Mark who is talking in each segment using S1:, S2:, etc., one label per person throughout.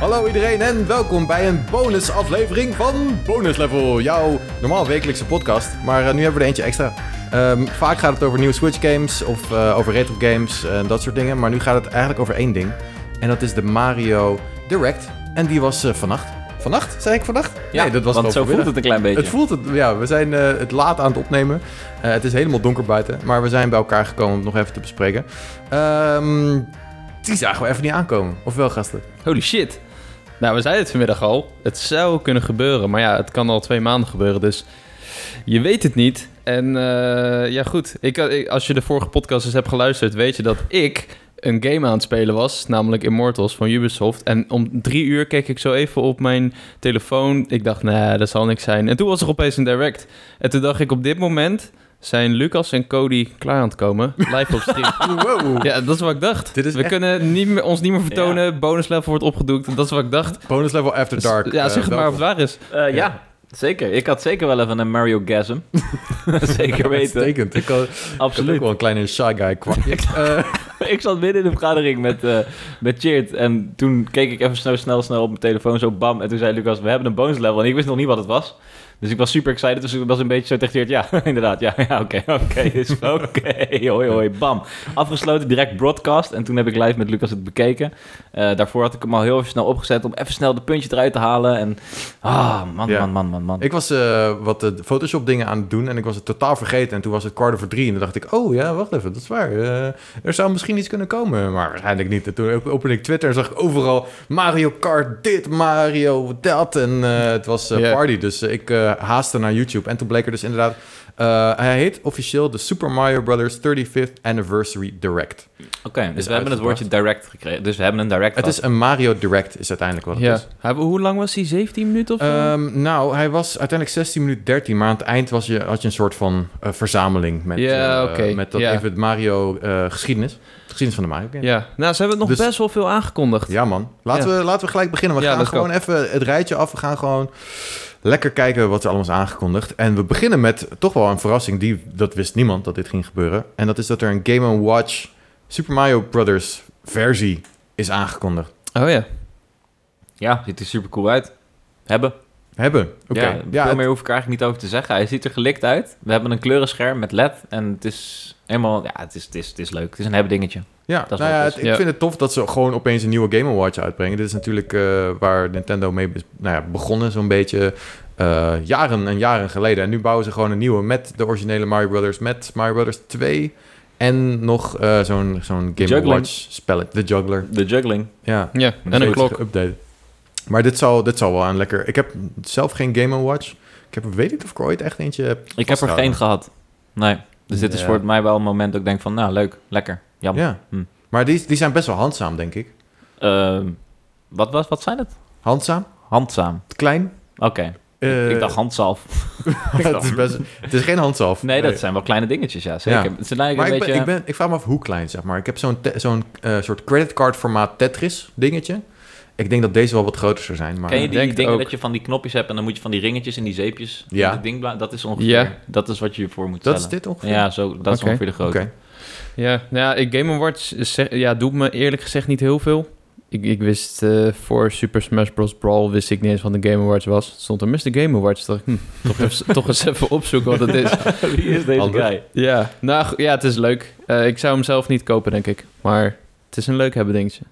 S1: Hallo iedereen en welkom bij een bonusaflevering van Bonus Level, jouw normaal wekelijkse podcast. Maar eh, nu hebben we er eentje extra. Ehm, vaak gaat het over nieuwe Switch games of eh, over retro games en dat soort dingen. Maar nu gaat het eigenlijk over één ding. En dat is de Mario Direct. En die was eh, vannacht. Vannacht? Zei ik vannacht? nee, dat was
S2: want
S1: gewoon
S2: zo voelt
S1: vanmiddag.
S2: het een klein beetje.
S1: Het voelt het, ja, we zijn eh, het laat aan het opnemen. Eh, het is helemaal donker buiten, maar we zijn bij elkaar gekomen om het nog even te bespreken. Ehm, die zagen we even niet aankomen. Of wel, gasten?
S3: Holy shit. Nou, we zeiden het vanmiddag al. Het zou kunnen gebeuren, maar ja, het kan al twee maanden gebeuren, dus je weet het niet. En eh, ja, goed. Ik, ik- als je de vorige podcast eens hebt geluisterd, weet je dat ik een game aan het spelen was, namelijk Immortals van Ubisoft. En om drie uur keek ik zo even op mijn telefoon. Ik dacht, nou, dat zal niks zijn. En toen was er opeens een direct. En toen dacht ik, op dit moment zijn Lucas en Cody klaar aan het komen, live op stream.
S1: Wow.
S3: Ja, dat is wat ik dacht.
S1: Dit is
S3: we
S1: echt-
S3: kunnen niet meer, ons niet meer vertonen. Bonuslevel wordt opgedoekt. Dat is wat ik dacht.
S1: Bonus level after dark.
S3: Dus, ja,
S1: eh,
S3: zeg het maar of het
S1: welkom.
S3: waar is.
S2: Eh, ja. zeker. Ik had zeker wel even een Mario Gasm. zeker weten.
S1: Uitstekend. Ik had, ik had ook
S2: Absoluut.
S1: wel een kleine shy guy kwakje. Eh,
S2: ik zat midden in de vergadering met, eh met Cheert. En toen keek ik even snel, snel, snel op mijn telefoon. Zo bam. En toen zei Lucas, we hebben een bonus level. En ik wist nog niet wat het was. Dus ik was super excited. Dus ik was een beetje zo tegen Cheert. Ja, inderdaad. Ja, ja, oké. oké. is oké. Hoi, hoi. Bam. Afgesloten. Direct broadcast. En toen heb ik live met Lucas het bekeken. Eh, daarvoor had ik hem al heel even snel opgezet. Om even snel de puntje eruit te halen. En ah, man,
S1: Ja.
S2: man, man, man, man.
S1: ik was eh, wat eh, Photoshop dingen aan het doen en ik was het totaal vergeten. En toen was het kwart over drie en toen dacht ik, oh ja, wacht even, dat is waar. Eh, er zou misschien iets kunnen komen, maar waarschijnlijk niet. En toen op- opende ik Twitter en zag ik overal Mario Kart dit, Mario dat. En eh, het was eh,
S3: Ja.
S1: party, dus eh, ik eh, haaste naar YouTube. En toen bleek er dus inderdaad, eh, hij heet officieel de Super Mario Brothers 35th Anniversary Direct.
S2: Oké, dus
S1: Is
S2: we hebben het woordje direct gekregen. Dus we hebben een direct
S1: Het
S2: gehad.
S1: is een Mario Direct, is uiteindelijk wat het
S3: Ja. Eh,
S1: is.
S3: Hij- Hoe lang was hij? 17 minuten of zo?
S1: Ehm, nou, hij was uiteindelijk 16 minuten 13, maar aan het eind was je, had je een soort van eh, verzameling met,
S3: Ja,
S1: eh,
S3: oké,
S1: met dat
S3: ja.
S1: even het Mario eh, geschiedenis. De geschiedenis van de Mario game. Ja,
S3: ja. Nou, ze hebben nog
S1: Dus-
S3: best wel veel aangekondigd.
S1: man. Laten, We, laten we gelijk beginnen. We
S3: Ja,
S1: gaan
S3: let's go.
S1: gewoon even het rijtje af. We gaan gewoon lekker kijken wat er allemaal is aangekondigd. En we beginnen met toch wel een verrassing. Die, dat wist niemand dat dit ging gebeuren. En dat is dat er een Game Watch Super Mario Brothers versie is aangekondigd.
S3: Oh ja.
S2: Ja, ziet er super cool uit. Hebben.
S1: Hebben. Oké.
S2: Ja, veel
S1: het-
S2: meer hoef ik er eigenlijk niet over te zeggen. Hij ziet er gelikt uit. We hebben een kleurenscherm met LED. En het is helemaal... Ja, het is, het is, het is leuk. Het is een hebben dingetje.
S1: Ja,
S2: Dat is
S1: nou
S2: wat
S1: ja,
S2: het
S1: het-
S3: is.
S1: ik
S3: Ja.
S1: vind het tof dat ze gewoon opeens een nieuwe Game Watch uitbrengen. Dit is natuurlijk eh, waar Nintendo mee be- nou ja, begonnen, zo'n beetje eh, jaren en jaren geleden. En nu bouwen ze gewoon een nieuwe met de originele Mario Brothers, met Mario Brothers 2 en nog eh, zo'n zo'n Game
S2: Juggling.
S1: Watch spellet, de Juggler.
S2: De juggling.
S1: Ja,
S3: Ja, en een
S1: steeds
S3: klok.
S1: geüpdate. Maar dit zal, dit zal wel een lekker... Ik heb zelf geen Game Watch. Ik heb, weet niet of ik er ooit echt eentje heb.
S2: Ik heb er
S1: Vasthouden.
S2: geen gehad. Nee. Dus dit is
S1: Ja.
S2: voor mij wel een moment dat ik denk van... Nou, leuk. Lekker. Jammer.
S1: Ja.
S2: Hm.
S1: Maar die, die zijn best wel handzaam, denk ik.
S2: Ehm, wat, was, wat zijn het?
S1: Handzaam,
S2: Handzaam.
S1: klein.
S2: Oké. ik
S1: eh,
S2: dacht handsalf.
S1: het, is best, het is geen handsalf.
S2: Nee, dat zijn wel kleine dingetjes. Ja, zeker.
S1: Ja.
S2: Het zijn eigenlijk
S1: Maar
S2: een
S1: ik,
S2: beetje...
S1: ben, ik, ben, ik vraag me af hoe klein, zeg maar. Ik heb zo'n te- zo'n eh, soort creditcard formaat Tetris dingetje. Ik denk dat deze wel wat groter zou zijn, maar...
S2: Ken je die
S3: Denkt
S2: dingen
S3: ook.
S2: dat je van die knopjes hebt en dan moet je van die ringetjes en die zeepjes?
S1: Ja.
S2: met het Ding bla- dat is ongeveer.
S3: Ja.
S2: Dat is wat je hiervoor moet
S1: Dat is
S2: stellen.
S1: dit ongeveer?
S2: Ja, zo, dat is
S3: Oké.
S2: ongeveer de
S1: Oké.
S2: grootte.
S3: Ja, nou ja, Game Awards zeg- ja, doet me eerlijk gezegd niet heel veel. Ik, ik wist eh, voor Super Smash Bros. Brawl wist ik niet eens wat de Game Awards was. Het Stond er Mr. Game Awards. Dacht ik, hm, toch, even, toch eens even opzoeken wat het is.
S2: Wie is deze
S1: Anders.
S2: guy?
S3: Ja, nou go- ja, het is leuk. Eh, ik zou hem zelf niet kopen, denk ik. Maar het is een leuk hebben dingetje.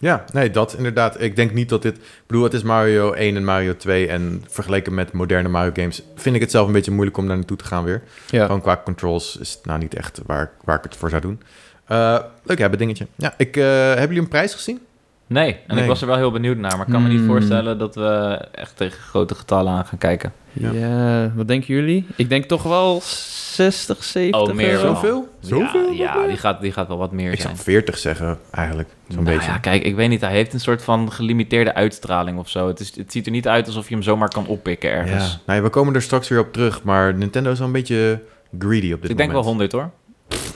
S1: Ja, nee, dat inderdaad. Ik denk niet dat dit... Ik bedoel, het is Mario 1 en Mario 2... en vergeleken met moderne Mario games... vind ik het zelf een beetje moeilijk om daar naartoe te gaan weer.
S3: Ja.
S1: Gewoon qua controls is het nou niet echt waar, waar ik het voor zou doen. Eh, leuk hebben dingetje. Ja, ik, eh, hebben jullie een prijs gezien?
S2: Nee, en
S1: Nee.
S2: ik was er wel heel benieuwd naar, maar ik kan me niet
S3: Hmm.
S2: voorstellen dat we echt tegen grote getallen aan gaan kijken.
S1: Ja.
S3: Ja. wat denken jullie? Ik denk toch wel 60, 70
S2: Oh, meer
S3: euro.
S2: wel.
S1: Zoveel? Zoveel?
S2: Ja, ja die, gaat, die gaat wel wat meer
S1: Ik
S2: zijn.
S1: zou 40 zeggen, eigenlijk. Zo'n
S2: Nou
S1: beetje.
S2: ja, kijk, ik weet niet, hij heeft een soort van gelimiteerde uitstraling of zo. Het, is, het ziet er niet uit alsof je hem zomaar kan oppikken ergens. Dus
S1: Ja. Nou ja, we komen er straks weer op terug, maar Nintendo is wel een beetje greedy op dit
S2: ik denk wel
S1: moment.
S2: 100 hoor.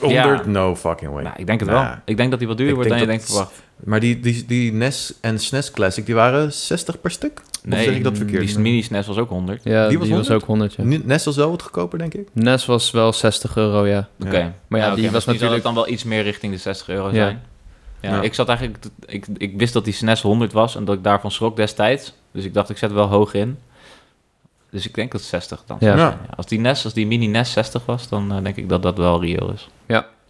S1: wel
S2: 100.
S1: 100? No fucking way.
S2: Nou, ik denk het
S1: Nou,
S2: wel. Ik denk dat hij wat duurder
S1: ik
S2: wordt dan
S1: denk dat
S2: je denkt verwacht.
S1: Maar die, die, die NES en SNES Classic, die waren 60 per stuk? of zeg ik dat verkeerd?
S2: die mini-SNES was ook 100.
S3: Ja,
S1: Die
S3: die
S1: was
S3: was,
S1: 100?
S3: ook 100. Ja.
S1: N- NES was wel wat goedkoper, denk ik.
S3: NES was wel 60 euro, ja.
S1: Ja.
S2: Oké.
S3: Maar ja,
S2: oké,
S3: die
S2: misschien
S3: was
S2: zal het
S3: natuurlijk-
S2: dan wel iets meer richting de 60 euro
S3: Ja.
S2: zijn. Ja,
S1: Ja.
S2: Ik zat eigenlijk... te- Ik, ik wist dat die SNES 100 was en dat ik daarvan schrok destijds. Dus ik dacht, ik zet er wel hoog in. Dus ik denk dat 60 dan.
S3: Ja.
S2: zou
S1: Ja.
S2: zijn. Ja, Als die NES, als die mini NES 60 was, dan eh, denk ik dat dat wel reëel is.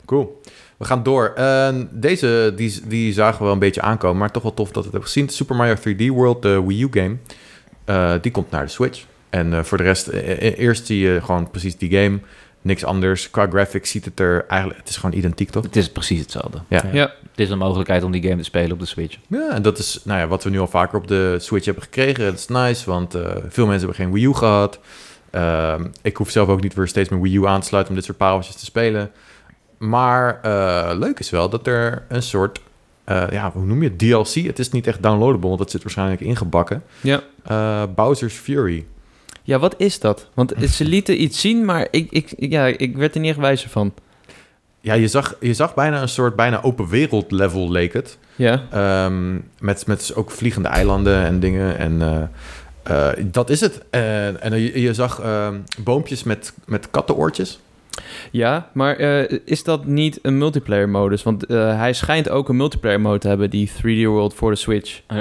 S1: Cool. We gaan door. Eh, deze die, die zagen we wel een beetje aankomen, maar toch wel tof dat we het hebben gezien. Super Mario 3D World, de Wii U game, eh, die komt naar de Switch. En eh, voor de rest, eh, eh, eerst zie je gewoon precies die game. Niks anders. Qua graphics ziet het er eigenlijk... Het is gewoon identiek, toch?
S2: Het is precies hetzelfde.
S1: Ja.
S3: Ja.
S2: Het is een mogelijkheid om die game te spelen op de Switch.
S1: Ja, en dat is nou ja, wat we nu al vaker op de Switch hebben gekregen. Dat is nice, want eh, veel mensen hebben geen Wii U gehad. Ehm, ik hoef zelf ook niet weer steeds mijn Wii U aan te sluiten om dit soort pareltjes te spelen. Maar eh, leuk is wel dat er een soort, eh, ja, hoe noem je het? DLC. Het is niet echt downloadable, want dat zit waarschijnlijk ingebakken.
S3: Ja.
S1: Eh, Bowser's Fury.
S3: Ja, wat is dat? Want ze lieten iets zien, maar ik, ik, ja, ik werd er niet echt wijzer van.
S1: Ja, je zag, je zag bijna een soort bijna open wereld level leek het.
S3: Ja.
S1: Ehm, met, met ook vliegende eilanden en dingen. En eh, eh, dat is het. En, en je, je zag ehm, boompjes met, met kattenoortjes.
S3: Ja, maar eh, is dat niet een multiplayer modus? Want eh, hij schijnt ook een multiplayer mode te hebben, die 3D World voor de Switch.
S2: Eh,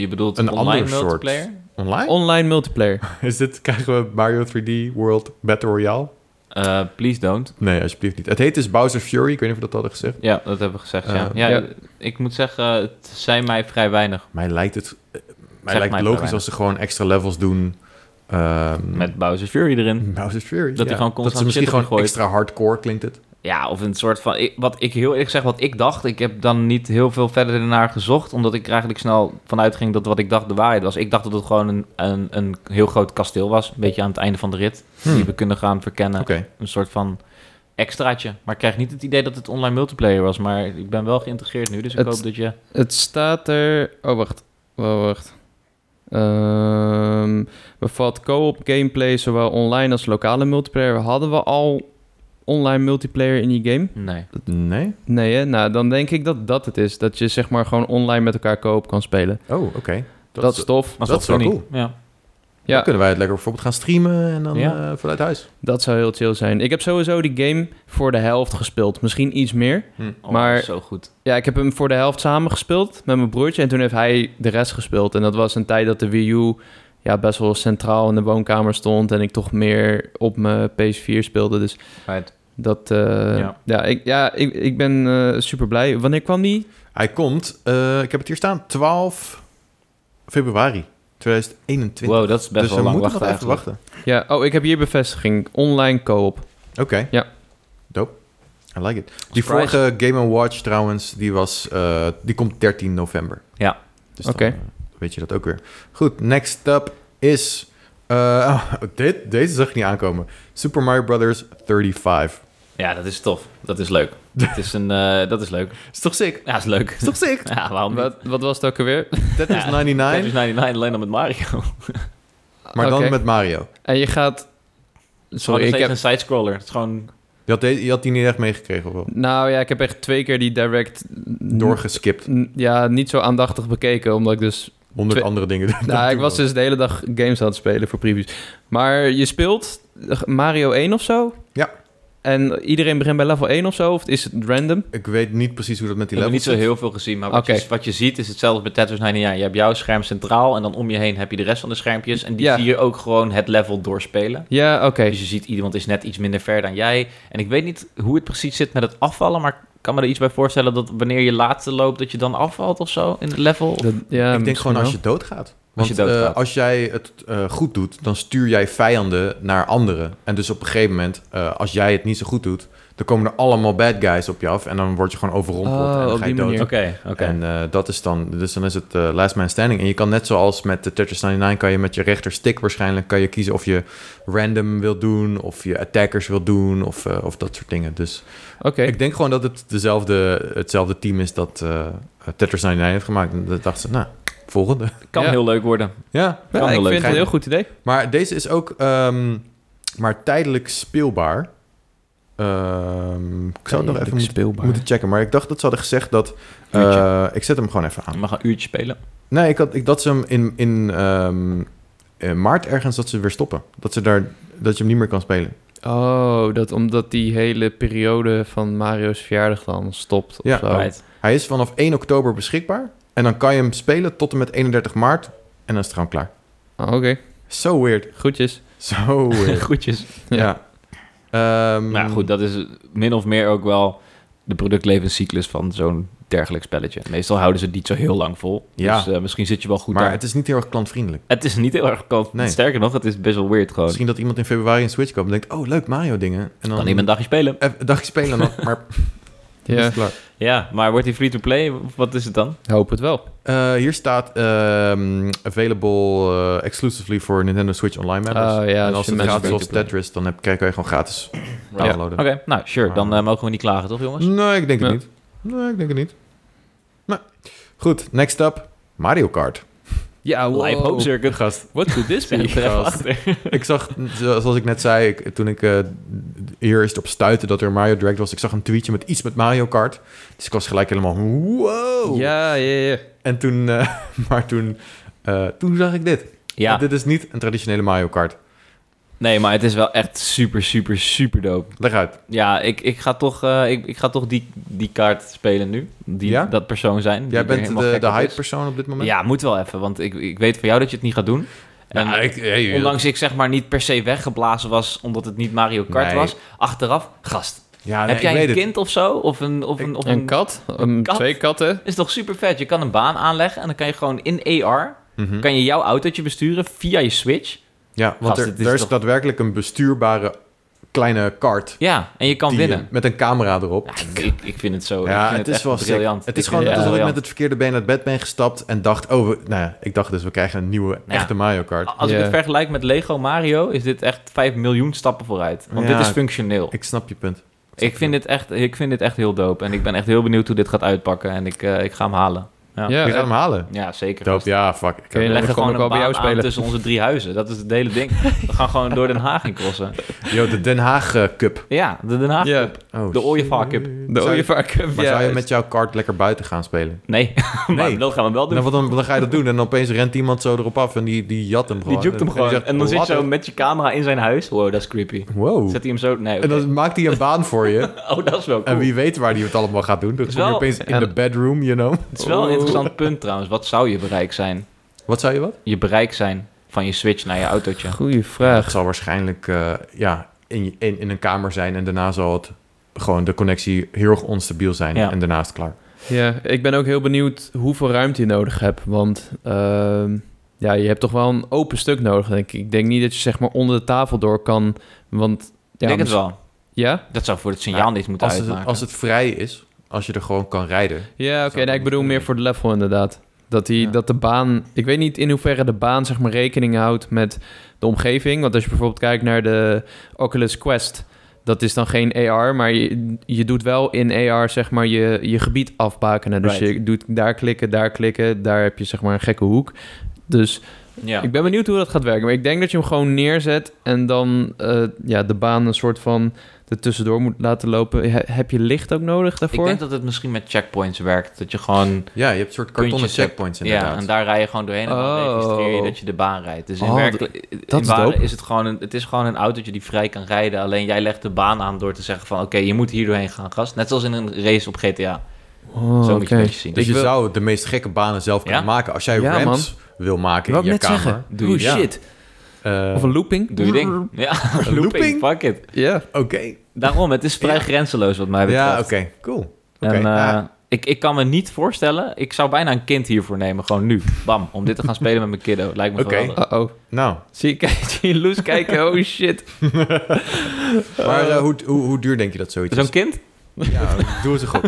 S2: Je bedoelt
S1: Een
S2: online
S1: ander soort.
S2: multiplayer?
S1: Online?
S3: Online multiplayer.
S1: Is dit, krijgen we Mario 3D World Battle Royale?
S2: Eh, please don't.
S1: Nee, alsjeblieft niet. Het heet dus Bowser Fury. Ik weet niet of we dat hadden gezegd.
S2: Ja, dat hebben we gezegd, ja.
S1: Eh,
S2: ja,
S3: ja.
S2: Ik moet zeggen, het zijn mij vrij weinig
S1: Mij lijkt het, eh, mij
S2: mij
S1: lijkt
S2: maar
S1: het logisch
S2: weinig.
S1: als ze gewoon extra levels doen. ehm,
S2: met Bowser's Fury erin.
S1: Bowser's Fury.
S2: Dat hij gewoon constant
S1: dat ze misschien
S2: shit
S1: gewoon
S2: opgooit.
S1: extra hardcore klinkt het.
S2: Ja, of een soort van... ik- wat ik heel eerlijk zeg, wat ik dacht... Ik heb dan niet heel veel verder naar gezocht... omdat ik er eigenlijk snel vanuit ging dat wat ik dacht de waarheid was. Ik dacht dat het gewoon een, een, een heel groot kasteel was. Een beetje aan het einde van de rit.
S1: Hmm.
S2: Die nou. we kunnen gaan verkennen.
S1: Oké.
S2: Een soort van extraatje. Maar ik krijg niet het idee dat het online multiplayer was. Maar ik ben wel geïntegreerd nu, dus ik
S3: Het-
S2: hoop dat je...
S3: Het staat er... Oh, wacht. Oh, wacht. Ehm bevat co-op gameplay, zowel online als lokale multiplayer. Hadden we al online multiplayer in die game?
S2: Nee.
S1: Nee?
S3: Nee, hè? Nou, dan denk ik dat dat het is. Dat je zeg maar gewoon online met elkaar co-op kan spelen.
S1: Oh, oké.
S3: Dat,
S1: Dat,
S3: is tof.
S1: Dat is wel
S2: funny.
S1: cool.
S2: Ja.
S1: dan
S3: Ja.
S1: kunnen wij het lekker bijvoorbeeld gaan streamen en dan
S2: Ja.
S1: eh, vanuit huis.
S3: Dat zou heel chill zijn. Ik heb sowieso die game voor de helft gespeeld. Misschien iets meer.
S2: Oh,
S3: Maar-
S2: Zo goed.
S3: Ja, ik heb hem voor de helft samengespeeld met mijn broertje. En toen heeft hij de rest gespeeld. En dat was een tijd dat de Wii U ja, best wel centraal in de woonkamer stond. En ik toch meer op mijn PS4 speelde. Dus
S2: Right.
S3: dat... eh,
S2: Ja.
S3: ja. ik, ja, ik, ik ben eh, super blij. Wanneer kwam die?
S1: Hij komt, eh, ik heb het hier staan, 12 februari 2021.
S2: Wow, dat is best
S1: dus we
S2: wel lang
S1: moeten
S2: wachten
S1: nog even
S2: eigenlijk.
S1: wachten.
S3: Ja, oh, ik heb hier bevestiging. Online co-op.
S1: Oké.
S3: Ja.
S1: Dope. I like it. Die
S2: Surprise.
S1: vorige Game Watch trouwens, die, was, eh, die komt 13 november.
S2: Ja.
S1: Dus dan,
S3: Oké.
S1: eh, weet je dat ook weer. Goed, next up is... eh, oh, dit, deze zag ik niet aankomen. Super Mario Brothers 35.
S2: Ja, dat is tof. Dat is leuk. Het is een, eh, dat is leuk.
S1: Is toch sick?
S2: Ja, is leuk.
S1: Is toch sick?
S2: Ja, waarom niet?
S3: Wat, wat was het ook alweer?
S1: Dat is
S2: Ja,
S1: 99,
S2: Tetris 99 alleen dan met Mario.
S1: maar dan
S3: Oké.
S1: met Mario.
S3: En je gaat... Sorry,
S2: Sorry,
S3: ik heb...
S2: een sidescroller. Het is gewoon...
S1: Je had, de- je had die niet echt meegekregen, of wel?
S3: Nou ja, ik heb echt twee keer die direct... n-
S1: Doorgeskipt.
S3: n- Ja, niet zo aandachtig bekeken, omdat ik dus...
S1: Honderd
S3: Twee-
S1: andere dingen.
S3: Nou, ik was dus de hele dag games aan het spelen voor previews. Maar je speelt Mario 1 of zo?
S1: Ja.
S3: En iedereen begint bij level 1 of zo? Of is het random?
S1: Ik weet niet precies hoe dat met
S2: Ik
S1: die
S2: heb
S1: levels
S2: niet zo
S1: zit.
S2: heel veel gezien, maar wat,
S3: Oké.
S2: je, wat je ziet is hetzelfde bij Tetris 99. Je hebt jouw scherm centraal en dan om je heen heb je de rest van de schermpjes. En die
S3: Ja.
S2: zie je ook gewoon het level doorspelen.
S3: Ja, oké.
S2: Dus je ziet, iemand is net iets minder ver dan jij. En ik weet niet hoe het precies zit met het afvallen, maar ik kan me er iets bij voorstellen dat wanneer je laatste loopt, dat je dan afvalt of zo in het level. Of-
S3: Dat- ja,
S1: ik denk
S3: misschien
S1: gewoon als
S3: wel.
S1: je doodgaat.
S2: Als
S1: Want
S2: je
S1: als,
S2: doodgaat.
S1: als jij het eh, goed doet, dan stuur jij vijanden naar anderen. En dus op een gegeven moment, eh, als jij het niet zo goed doet, dan komen er allemaal bad guys op je af. En dan word je gewoon overrompeld
S3: Oh,
S1: en dan
S3: op
S1: ga je
S3: die
S1: dood.
S3: manier.
S2: Oké,
S1: En eh, dat is dan, dus dan is het eh, last man standing. En je kan net zoals met de Tetris 99, kan je met je rechterstick waarschijnlijk kan je kiezen of je random wil doen, of je attackers wil doen, of, eh, of dat soort dingen. Dus
S3: Oké.
S1: ik denk gewoon dat het dezelfde, hetzelfde team is dat eh Tetris 99 heeft gemaakt. En dat dachten ze, nou, volgende.
S2: Kan
S3: Ja.
S2: heel leuk worden.
S1: Ja,
S3: Ja,
S2: kan
S3: ik
S2: heel leuk
S3: vind het
S1: zijn.
S3: een heel goed idee.
S1: maar deze is ook ehm, maar tijdelijk speelbaar. Ehm, ik zou het nog even moeten,
S3: speelbaar.
S1: moeten checken. Maar ik dacht dat ze hadden gezegd dat... eh, ik zet hem gewoon even
S3: Ah.
S2: Je
S1: aan.
S2: mag een uurtje spelen.
S1: Nee, ik had, ik, dat ze hem in, in, ehm, in maart ergens dat ze weer stoppen. Dat, ze daar, dat je hem niet meer kan spelen.
S3: Oh, dat omdat die hele periode van Mario's verjaardag dan stopt of
S1: Ja.
S3: zo.
S2: Right.
S1: Hij is vanaf 1 oktober beschikbaar. En dan kan je hem spelen tot en met 31 maart. En dan is het gewoon klaar.
S3: Ah, Oké,
S1: So weird.
S3: goedjes.
S1: So weird.
S2: Groetjes.
S1: ja. Ehm,
S2: Maar ja, goed, dat is min of meer ook wel de productlevenscyclus van zo'n dergelijk spelletje. Meestal houden ze het niet zo heel lang vol.
S1: Ja.
S2: Dus eh, misschien zit je wel goed Oh.
S1: maar
S2: aan.
S1: het is niet heel erg klantvriendelijk.
S2: Het is niet heel erg kant.
S1: Nee.
S2: Sterker nog, het is best wel weird gewoon.
S1: Misschien dat iemand in februari een Switch koopt en denkt... Oh, leuk, Mario dingen. En dan
S2: Kan iemand een dagje spelen.
S1: even een dagje spelen nog, maar
S3: Ja,
S1: is het klaar.
S2: Ja, maar wordt die free-to-play? Wat is het dan?
S3: hoop het wel.
S1: Eh, hier staat ehm, available eh, exclusively for Nintendo Switch Online members.
S3: Oh, ja,
S1: dus- en
S3: als
S1: als
S3: je
S1: het
S3: mensen
S1: gratis was
S3: free-to-play.
S1: Tetris, dan heb, krijg je gewoon gratis downloaden.
S2: Oké, nou, sure. Dan eh, mogen we niet klagen, toch jongens?
S1: Nee, ik denk het
S3: Ja.
S1: niet. Nee, ik denk het niet. Nee. Goed, next up. Mario Kart.
S3: Ja,
S2: Live Hope Circuit.
S1: Gast.
S3: What could this
S2: Zeg het er
S3: be?
S2: even
S1: gast.
S2: achter.
S1: ik zag, zoals ik net zei, ik- toen ik eh, eerst op stuitte dat er een Mario Direct was, ik zag een tweetje met iets met Mario Kart. Dus ik was gelijk helemaal, wow.
S3: Ja, ja, ja.
S1: En toen, eh, maar toen, eh, toen zag ik dit.
S2: Ja,
S1: Dit is niet een traditionele Mario Kart.
S2: nee, maar het is wel echt super, super, super dope.
S1: Leg uit.
S2: Ja, ik, ik ga toch, eh, ik, ik ga toch die, die kaart spelen nu. Die,
S1: Ja?
S2: Dat persoon zijn. die
S1: Jij
S2: er
S1: bent
S2: helemaal
S1: de,
S2: gek
S1: de
S2: op is.
S1: hype persoon op dit moment?
S2: Ja, moet wel even, want ik, ik weet van jou dat je het niet gaat doen. En
S1: Nou, ik, hey, joh.
S2: ondanks ik zeg maar niet per se weggeblazen was omdat het niet Mario Kart
S1: Nee.
S2: was, achteraf, gast.
S1: ja, nee,
S2: heb jij
S1: ik
S2: een
S1: weet
S2: kind of zo? Of een, of een, of
S3: Een
S2: een,
S3: kat? Een-
S2: kat?
S3: Twee katten?
S2: is toch super vet? Je kan een baan aanleggen en dan kan je gewoon in AR
S1: het. Mhm.
S2: kan je jouw autootje besturen via je Switch.
S1: Ja, want
S2: Gast,
S1: er,
S2: het is
S1: er is
S2: toch-
S1: daadwerkelijk een bestuurbare kleine kart.
S2: Ja, en je kan
S1: die-
S2: winnen.
S1: Met een camera erop.
S2: Ja, ik, ik vind het zo.
S1: Ja,
S2: Oh, ik vind
S1: het is
S2: echt
S1: wel sick.
S2: briljant.
S1: Het
S2: Ik
S1: is gewoon
S2: vind
S1: net
S2: het
S1: alsof ik met
S2: briljant.
S1: het verkeerde been uit bed ben gestapt en dacht, oh, we- nou ja, ik dacht dus we krijgen een nieuwe
S2: Ja.
S1: echte Mario Kart.
S2: Als ik
S3: Ja.
S2: het vergelijk met Lego Mario, is dit echt 5 miljoen stappen vooruit. Want
S1: Ja,
S2: dit is functioneel.
S1: Ik snap je punt.
S2: Ik vind, dit echt, ik vind dit echt heel dope. En ik ben echt heel benieuwd hoe dit gaat uitpakken. En ik, eh, ik ga hem halen. Ja.
S1: Je
S3: Ja,
S1: gaat
S3: eh,
S1: hem halen.
S2: Ja, zeker.
S1: Doop, ja, fuck. Ik
S3: Kun je
S1: heb-
S2: We leggen
S3: dan kom
S2: gewoon
S3: ik wel
S2: een
S3: bij jou
S2: baan aan
S3: spelen.
S2: tussen onze drie huizen. Dat is het hele ding. We gaan gewoon door Den Haag in crossen.
S1: Yo, de Den Haag eh, Cup.
S2: Ja, de Den Haag.
S3: ja.
S1: Oh,
S2: De
S1: shit.
S2: Ooievaar Cup.
S3: De
S1: Zou je-
S3: ooievaar Cup,
S1: Maar
S3: ja.
S1: zou je met jouw kart lekker buiten gaan spelen?
S2: Nee, maar
S1: Nee.
S2: dat gaan we wel doen.
S1: Nou, want dan, dan ga je dat doen en opeens rent iemand zo erop af en die, die jat hem gewoon.
S2: Die jukt hem
S1: die
S2: gewoon.
S1: zegt,
S2: En dan zit je
S1: "What
S2: zo
S1: the-
S2: met je camera in zijn huis. Wow, dat is creepy.
S1: Wow.
S2: Zet hij hem zo... Nee,
S1: En
S2: oké.
S1: dan maakt hij een baan voor je.
S2: Oh, dat is wel cool.
S1: En wie weet waar hij het allemaal gaat doen. Dan
S2: Is
S1: kom je
S2: wel-
S1: opeens in
S3: en-
S1: de bedroom, you know.
S2: Het is wel een
S3: Oeh.
S2: interessant punt trouwens. Wat zou je bereik zijn?
S1: Wat zei je wat?
S2: Je bereik zijn van je Switch naar je autootje.
S3: Goeie
S1: Het
S3: vraag.
S1: zal waarschijnlijk eh, ja, in, je- in, in een kamer zijn en daarna zal het gewoon de connectie heel erg onstabiel zijn
S2: Ja.
S1: en daarna is het klaar.
S3: Ja, ik ben ook heel benieuwd hoeveel ruimte je nodig hebt. Want ehm, ja, je hebt toch wel een open stuk nodig, denk ik. Ik denk niet dat je zeg maar onder de tafel door kan, want... Ja,
S2: ik denk het
S3: mis-
S2: wel.
S3: Ja?
S2: Dat zou voor het signaal
S1: Ja,
S2: niet moeten
S1: Als het,
S2: uitmaken.
S1: als het vrij is, als je er gewoon kan rijden.
S3: Ja, oké.
S1: Zou
S3: nee,
S1: ik
S3: ik bedoel
S1: niet
S3: meer voor de level inderdaad. Dat, die,
S1: Ja.
S3: dat de baan... Ik weet niet in hoeverre de baan zeg maar rekening houdt met de omgeving. Want als je bijvoorbeeld kijkt naar de Oculus Quest... Dat is dan geen AR, maar je, je doet wel in AR zeg maar je, je gebied afbakenen. Dus
S2: Right.
S3: je doet daar klikken, daar klikken. Daar heb je zeg maar een gekke hoek. Dus
S2: Ja.
S3: ik ben benieuwd hoe dat gaat werken. Maar ik denk dat je hem gewoon neerzet en dan eh, ja, de baan een soort van er tussendoor moet laten lopen. He- heb je licht ook nodig daarvoor?
S2: Ik denk dat het misschien met checkpoints werkt. Dat je gewoon...
S1: Ja, je hebt een soort kartonnen
S2: Puntjes,
S1: checkpoints
S2: Ja,
S1: inderdaad.
S2: en daar rij je gewoon doorheen en dan
S3: Oh.
S2: registreer je dat je de baan rijdt. Dus in
S3: Oh,
S2: werkelijk,
S3: dat
S2: in
S3: is
S2: ware
S3: dope.
S2: is het gewoon een, het is gewoon een autootje die vrij kan rijden. Alleen jij legt de baan aan door te zeggen van... Oké, je moet hier doorheen gaan, gast. Net zoals in een race op GTA.
S3: Oh,
S2: Zo moet je
S3: oké.
S2: het een beetje zien.
S1: dus
S3: Ik
S1: je
S3: wil-
S1: zou de meest gekke banen zelf kunnen
S2: Ja?
S1: maken. Als jij
S3: Ja,
S1: ramps wil maken
S3: Wou
S1: in
S3: ik
S1: je
S3: net
S1: kamer.
S3: zeggen.
S2: Doe
S3: Oeh,
S2: je. Ja.
S3: shit.
S1: eh,
S3: Of een looping.
S2: Doe je ding. Ja, looping.
S1: Looping?
S2: Fuck it.
S3: Ja.
S1: Oké.
S2: Daarom, het is vrij
S1: Ja.
S2: grenzeloos wat mij betreft.
S1: Ja, oké. Cool. Oké.
S2: En, eh,
S1: Ah,
S2: ik, ik kan me niet voorstellen... Ik zou bijna een kind hiervoor nemen, gewoon nu. Bam, om dit te gaan spelen met mijn kiddo. Lijkt me
S1: Oké.
S2: geweldig.
S3: Uh-oh.
S1: nou,
S3: Zie je, kijk, zie je Loes kijken? Oh shit.
S1: maar eh, hoe, hoe, hoe duur denk je dat zoiets
S2: Zo'n
S1: is?
S2: kind?
S1: Ja, doe het zo goed.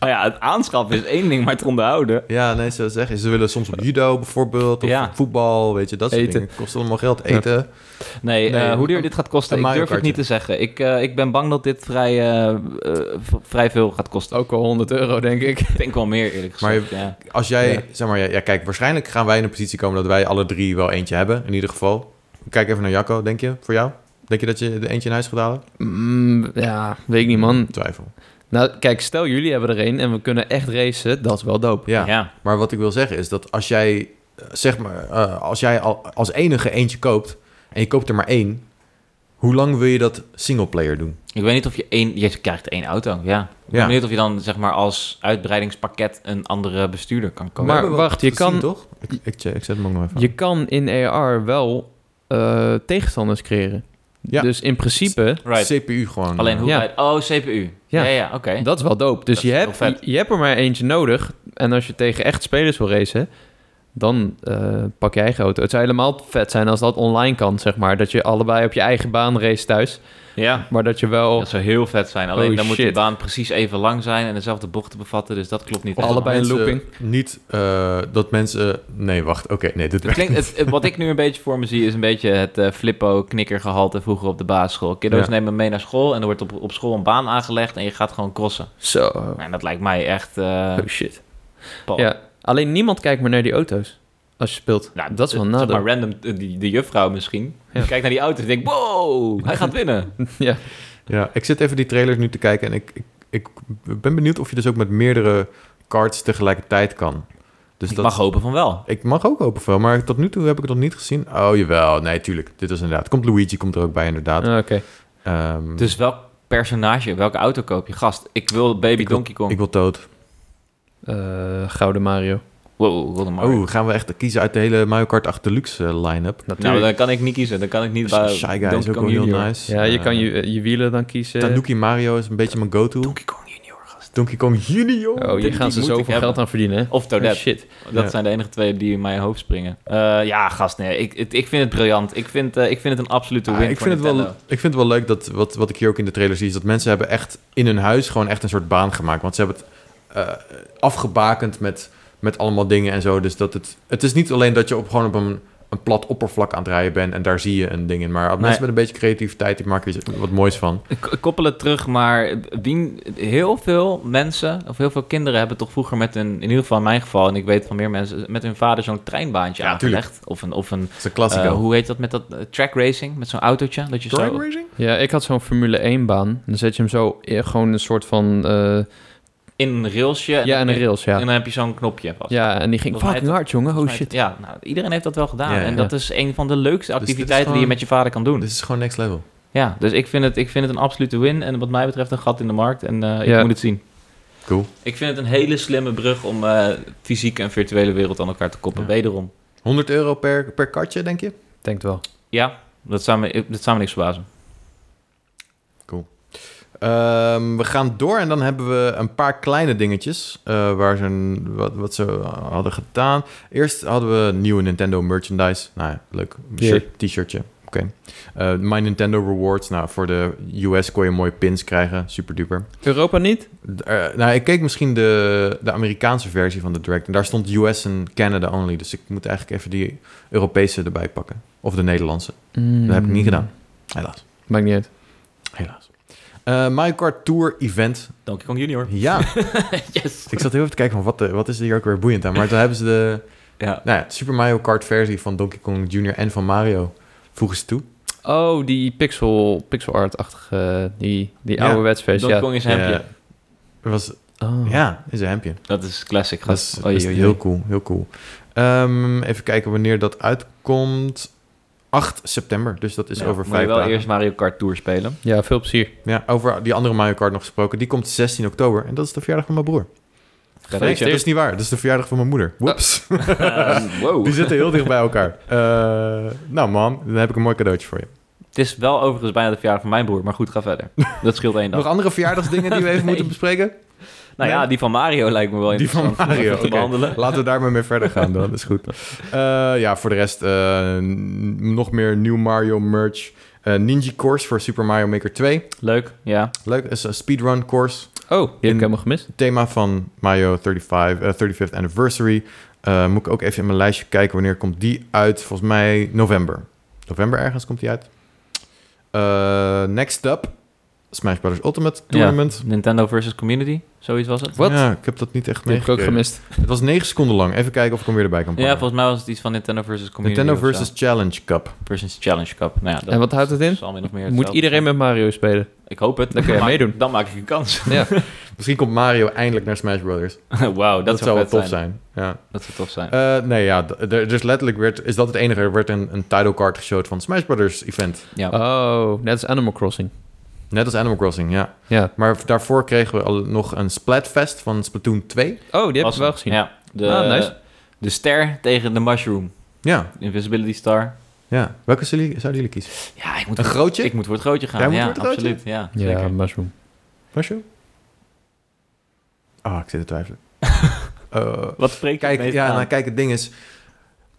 S2: Nou ja, het aanschaffen is één ding, maar het onderhouden...
S1: Ja, nee, ze zeggen, ze willen soms op judo bijvoorbeeld, of
S2: Ja.
S1: op voetbal, weet je, dat soort
S3: Eten.
S1: dingen. Kost allemaal geld, eten.
S2: Nee,
S1: Nee,
S2: eh, hoe duur
S1: een-
S2: dit gaat kosten,
S1: een
S2: ik
S1: Mario
S2: durf het niet te zeggen. Ik, eh, ik ben bang dat dit vrij, eh, eh, v- vrij veel gaat kosten.
S3: Ook al 100 euro, denk ik.
S2: Ik denk wel meer, eerlijk
S1: Maar
S2: gezegd. ja.
S1: Als jij,
S3: Ja.
S1: zeg maar, ja, ja, kijk, waarschijnlijk gaan wij in een positie komen dat wij alle drie wel eentje hebben, in ieder geval. Kijk even naar Jacco, denk je, voor jou? Denk je dat je er eentje in huis gaat halen?
S3: Mm, ja, weet ik niet, man.
S1: Twijfel.
S3: Nou, kijk, stel jullie hebben er een en we kunnen echt racen. Dat is wel dope.
S1: Ja.
S2: Ja.
S1: maar wat ik wil zeggen is dat als jij, eh, zeg maar, eh, als jij al, als enige eentje koopt, en je koopt er maar één, hoe lang wil je dat singleplayer doen?
S2: Ik weet niet of je één... Je krijgt één auto, ja. Ik
S1: Ja.
S2: weet niet of je dan zeg maar als uitbreidingspakket een andere bestuurder kan kopen.
S3: Maar
S1: We hebben wel
S3: wacht, je
S1: gezien,
S3: kan-
S1: toch? Ik, ik, check- ik zet hem ook nog even aan.
S3: Je kan in AR wel eh, tegenstanders creëren.
S1: Ja.
S3: Dus in principe,
S2: Right.
S1: CPU gewoon. eh,
S2: Alleen hoe...
S3: Ja.
S2: uit- Oh, CPU. Ja,
S3: Ja.
S2: ja, oké.
S3: dat is wel dope. Dus
S2: Dat
S3: je
S2: is
S3: hebt,
S2: heel
S3: je,
S2: vet.
S3: je hebt er maar eentje nodig. En als je tegen echt spelers wil racen, dan eh, pak je eigen auto. Het zou helemaal vet zijn als dat online kan, zeg maar. Dat je allebei op je eigen baan race thuis.
S2: Ja.
S3: Maar dat je wel
S2: Dat zou heel vet zijn. Alleen
S3: Oh,
S2: dan moet die
S3: shit.
S2: baan precies even lang zijn en dezelfde bochten bevatten. Dus dat klopt niet.
S1: Als
S3: Alle- allebei een
S1: mensen
S3: looping.
S1: Niet eh, dat mensen... Nee, wacht. Oké, nee, dit
S2: Het
S1: werkt
S2: klinkt,
S1: niet.
S2: het, het- wat ik nu een beetje voor me zie is een beetje het eh, flippo-knikkergehalte vroeger op de basisschool. Kiddo's
S1: Ja.
S2: nemen mee naar school en er wordt op, op school een baan aangelegd en je gaat gewoon crossen.
S3: zo...
S2: En dat lijkt mij echt... eh
S3: Oh shit.
S2: pal.
S3: Ja, alleen niemand kijkt meer naar die auto's als je speelt.
S2: Nou,
S3: dat is wel een
S2: het- zeg
S3: nadeel.
S2: maar random, eh, die, de juffrouw misschien.
S3: Ja.
S2: Die kijkt naar die auto en denkt, wow, hij gaat winnen.
S3: ja.
S1: Ja, ik zit even die trailers nu te kijken en ik, ik, ik ben benieuwd of je dus ook met meerdere cards tegelijkertijd kan. Dus
S2: ik
S1: dat,
S2: mag hopen van wel.
S1: Ik mag ook hopen veel, maar tot nu toe heb ik het nog niet gezien. Oh, jawel. Nee, tuurlijk. Dit is inderdaad. Komt Luigi komt er ook bij, inderdaad.
S3: Ah, Oké.
S1: Ehm,
S2: Dus welk personage, welke auto koop je? Gast, ik wil Baby
S1: Ik wil-
S2: Donkey Kong.
S1: ik wil dood.
S3: Eh, Gouden Mario.
S2: Wow, ik wil een Mario.
S1: Oh, gaan we echt kiezen uit de hele Mario Kart 8 Deluxe eh, line-up?
S2: Nou, dan kan ik niet kiezen. Dan kan ik niet bij
S1: Shy Guy is
S2: Donkey
S1: ook wel
S2: Kong
S1: heel
S2: Junior.
S1: nice.
S3: ja, je
S1: Eh,
S3: kan je, je wielen dan kiezen.
S1: Tanuki Mario is een beetje mijn go-to.
S2: Eh, Donkey Kong Junior, gast.
S1: Donkey Kong Junior.
S3: Oh,
S2: Die-
S3: hier gaan
S2: die
S3: ze
S2: moet ik
S3: zoveel
S2: hebben.
S3: geld aan verdienen. hè?
S2: Of
S3: Oh,
S2: Toadette.
S3: shit.
S2: dat
S1: Ja.
S2: zijn de enige twee die in mijn hoofd springen. Eh, ja, gast, nee. Ik, het- ik vind het briljant. Ik vind, eh, ik vind het een absolute
S1: Ah,
S2: win
S1: ik,
S2: voor
S1: vind het wel,
S2: Nintendo.
S1: ik vind het wel leuk dat wat, wat ik hier ook in de trailer zie, is dat mensen hebben echt in hun huis gewoon echt een soort baan gemaakt. Want ze hebben het eh, afgebakend met, met allemaal dingen en zo. Dus dat het, het is niet alleen dat je op, gewoon op een, een plat oppervlak aan het rijden bent en daar zie je een ding in. Maar
S2: Nee.
S1: mensen met een beetje creativiteit, die maken er iets- wat moois van.
S2: Ik- ik koppel het terug, maar wie- heel veel mensen, of heel veel kinderen hebben toch vroeger met hun, in ieder geval in mijn geval, en ik weet van meer mensen, met hun vader zo'n treinbaantje
S1: Ja,
S2: aangelegd. Of een, of een
S1: Dat is een
S2: eh,
S1: klassico.
S2: hoe heet dat met dat eh, track racing, met zo'n autootje? Dat je zo,
S1: Drag racing?
S3: Ja, ik had zo'n Formule 1 baan. Dan zet je hem zo in, gewoon een soort van... eh,
S2: in een railsje.
S3: ja, en een rails,
S2: En
S3: ja.
S2: dan heb je zo'n knopje vast.
S3: Ja, en die ging
S2: Volgens mij
S3: fucking hard, jongen. Oh
S2: Volgens mij-
S3: shit.
S2: Ja, nou, iedereen heeft dat wel gedaan.
S1: Ja, ja.
S2: En dat is een van de leukste
S1: dit is
S2: activiteiten die je
S1: gewoon-
S2: met je vader kan doen.
S1: Dit is gewoon next level.
S2: Ja, dus ik vind, het, ik vind het een absolute win. En wat mij betreft een gat in de markt. En eh, ik
S3: Ja.
S2: moet het zien.
S1: Cool.
S2: Ik vind het een hele slimme brug om eh, fysieke en virtuele wereld aan elkaar te koppelen.
S1: Ja.
S2: Wederom.
S1: 100 euro per, per kartje, denk je?
S3: Denkt wel.
S2: Ja, dat zou me, dat zou me niks verbazen.
S1: Ehm, we gaan door en dan hebben we een paar kleine dingetjes eh, waar ze een- wat, wat ze eh, hadden gedaan. Eerst hadden we nieuwe Nintendo merchandise. Nou ja, leuk. Shirt- T-shirtje. Oké. Eh, My Nintendo Rewards. Nou, voor de US kon je mooie pins krijgen. Super duper.
S3: Europa niet?
S1: Eh, nou, ik keek misschien de, de Amerikaanse versie van de Direct. En daar stond US en Canada only. Dus ik moet eigenlijk even die Europese erbij pakken. Of de Nederlandse. Dat heb ik
S3: Mm.
S1: niet gedaan. Helaas.
S3: Hmm. Maakt niet uit.
S1: Helaas. Eh Mario Kart Tour Event.
S2: Donkey Kong Junior.
S1: Ja.
S2: yes.
S1: Ik zat heel even te kijken van wat, de- wat is hier ook weer boeiend aan. Maar toen hebben ze de
S2: Ja.
S1: nou ja, Super Mario Kart versie van Donkey Kong Jr. en van Mario voegen ze toe.
S3: Oh, die pixel, pixel art-achtige, die, die
S1: Ja,
S3: ouderwets versie.
S2: Donkey
S3: Ja.
S2: Kong is een hempje.
S1: Eh, was,
S3: Oh.
S1: Ja, is een hempje.
S2: Dat is classic,
S1: Dat
S2: gast.
S1: is,
S2: Oei,
S1: dat is
S2: oei,
S1: heel
S2: oei.
S1: cool, heel cool. Ehm, even kijken wanneer dat uitkomt. 8 september, dus dat is
S2: Nou,
S1: over
S2: moet je
S1: vijf
S2: wel
S1: dagen.
S2: eerst Mario Kart Tour spelen.
S3: ja, veel plezier.
S1: Ja, over die andere Mario Kart nog gesproken. Die komt 16 oktober en dat is de verjaardag van mijn broer. Nee, dat
S3: Gefeliciteerd.
S1: is niet waar. Dat is de verjaardag van mijn moeder. Whoops.
S2: Eh, wow.
S1: Die zitten heel dicht bij elkaar. Eh, nou mam, dan heb ik een mooi cadeautje voor je.
S2: Het is wel overigens bijna de verjaardag van mijn broer, maar goed, ga verder. Dat scheelt één dag.
S1: Nog andere verjaardagsdingen die we even
S2: Nee.
S1: moeten bespreken?
S2: Nou ja,
S1: Nee.
S2: die van Mario lijkt me wel
S1: Die van
S2: interessant om
S1: Mario,
S2: even te
S1: oké.
S2: behandelen.
S1: Laten we daar maar mee verder gaan dan, dat is goed. Eh, ja, voor de rest eh, n- nog meer nieuw Mario merch. Eh, Ninja Course voor Super Mario Maker 2.
S2: Leuk, ja.
S1: Leuk, dat is een speedrun course.
S3: Oh, die heb
S1: In-
S3: ik helemaal gemist.
S1: Thema van Mario 35, eh, 35th Anniversary. Eh, moet ik ook even in mijn lijstje kijken wanneer komt die uit. Volgens mij november. November ergens komt die uit. Eh, next up Smash Bros. Ultimate Tournament.
S2: Nintendo versus Community, zoiets was het.
S3: Wat?
S1: Ja, ik heb dat niet echt
S3: Die heb ik ook
S1: meegekregen.
S3: gemist.
S1: Het was negen seconden lang. Even kijken of ik hem weer erbij kan
S2: Ja,
S1: pakken.
S2: volgens mij was het iets van Nintendo versus Community.
S1: Nintendo
S2: of zo.
S1: versus Challenge Cup.
S2: versus Challenge Cup. Nou ja, dat
S3: En wat houdt het in?
S2: is al min of meer
S3: Moet
S2: hetzelfde.
S3: iedereen met Mario spelen?
S2: Ik hoop het.
S3: Dan kun je
S2: maak-
S3: meedoen.
S2: Dan maak ik een kans.
S3: Ja.
S1: Misschien komt Mario eindelijk naar Smash Brothers.
S2: Wauw, dat,
S1: Dat, zou wel
S2: vet
S1: tof
S2: zijn.
S1: zijn. Ja.
S2: Dat zou tof zijn.
S1: Eh, nee, ja. d- er- Dus letterlijk werd, is dat het enige. Er werd een, een title card geshowd van Smash Brothers event.
S2: ja.
S3: Oh, net als Animal Crossing.
S1: Net als Animal Crossing, ja.
S3: Ja.
S1: Maar daarvoor kregen we al nog een Splatfest van Splatoon 2.
S3: Oh, die heb ik
S2: Awesome.
S3: wel gezien.
S2: Ja, de,
S3: Ah, nice.
S2: de ster tegen de mushroom.
S1: Ja,
S2: Invisibility star.
S1: ja. Welke zullen jullie- zouden jullie kiezen?
S2: Ja, ik moet,
S1: Een grootje?
S2: ik moet voor het grootje gaan.
S1: Jij moet
S2: ja,
S1: voor het grootje?
S2: absoluut. Ja,
S3: Ja,
S2: zeker.
S3: mushroom.
S1: Was je? Ah, ik zit te twijfelen. Eh,
S2: Wat spreekt je het
S1: Kijk,
S2: meest
S1: ja,
S2: aan?
S1: nou, kijk, het ding is...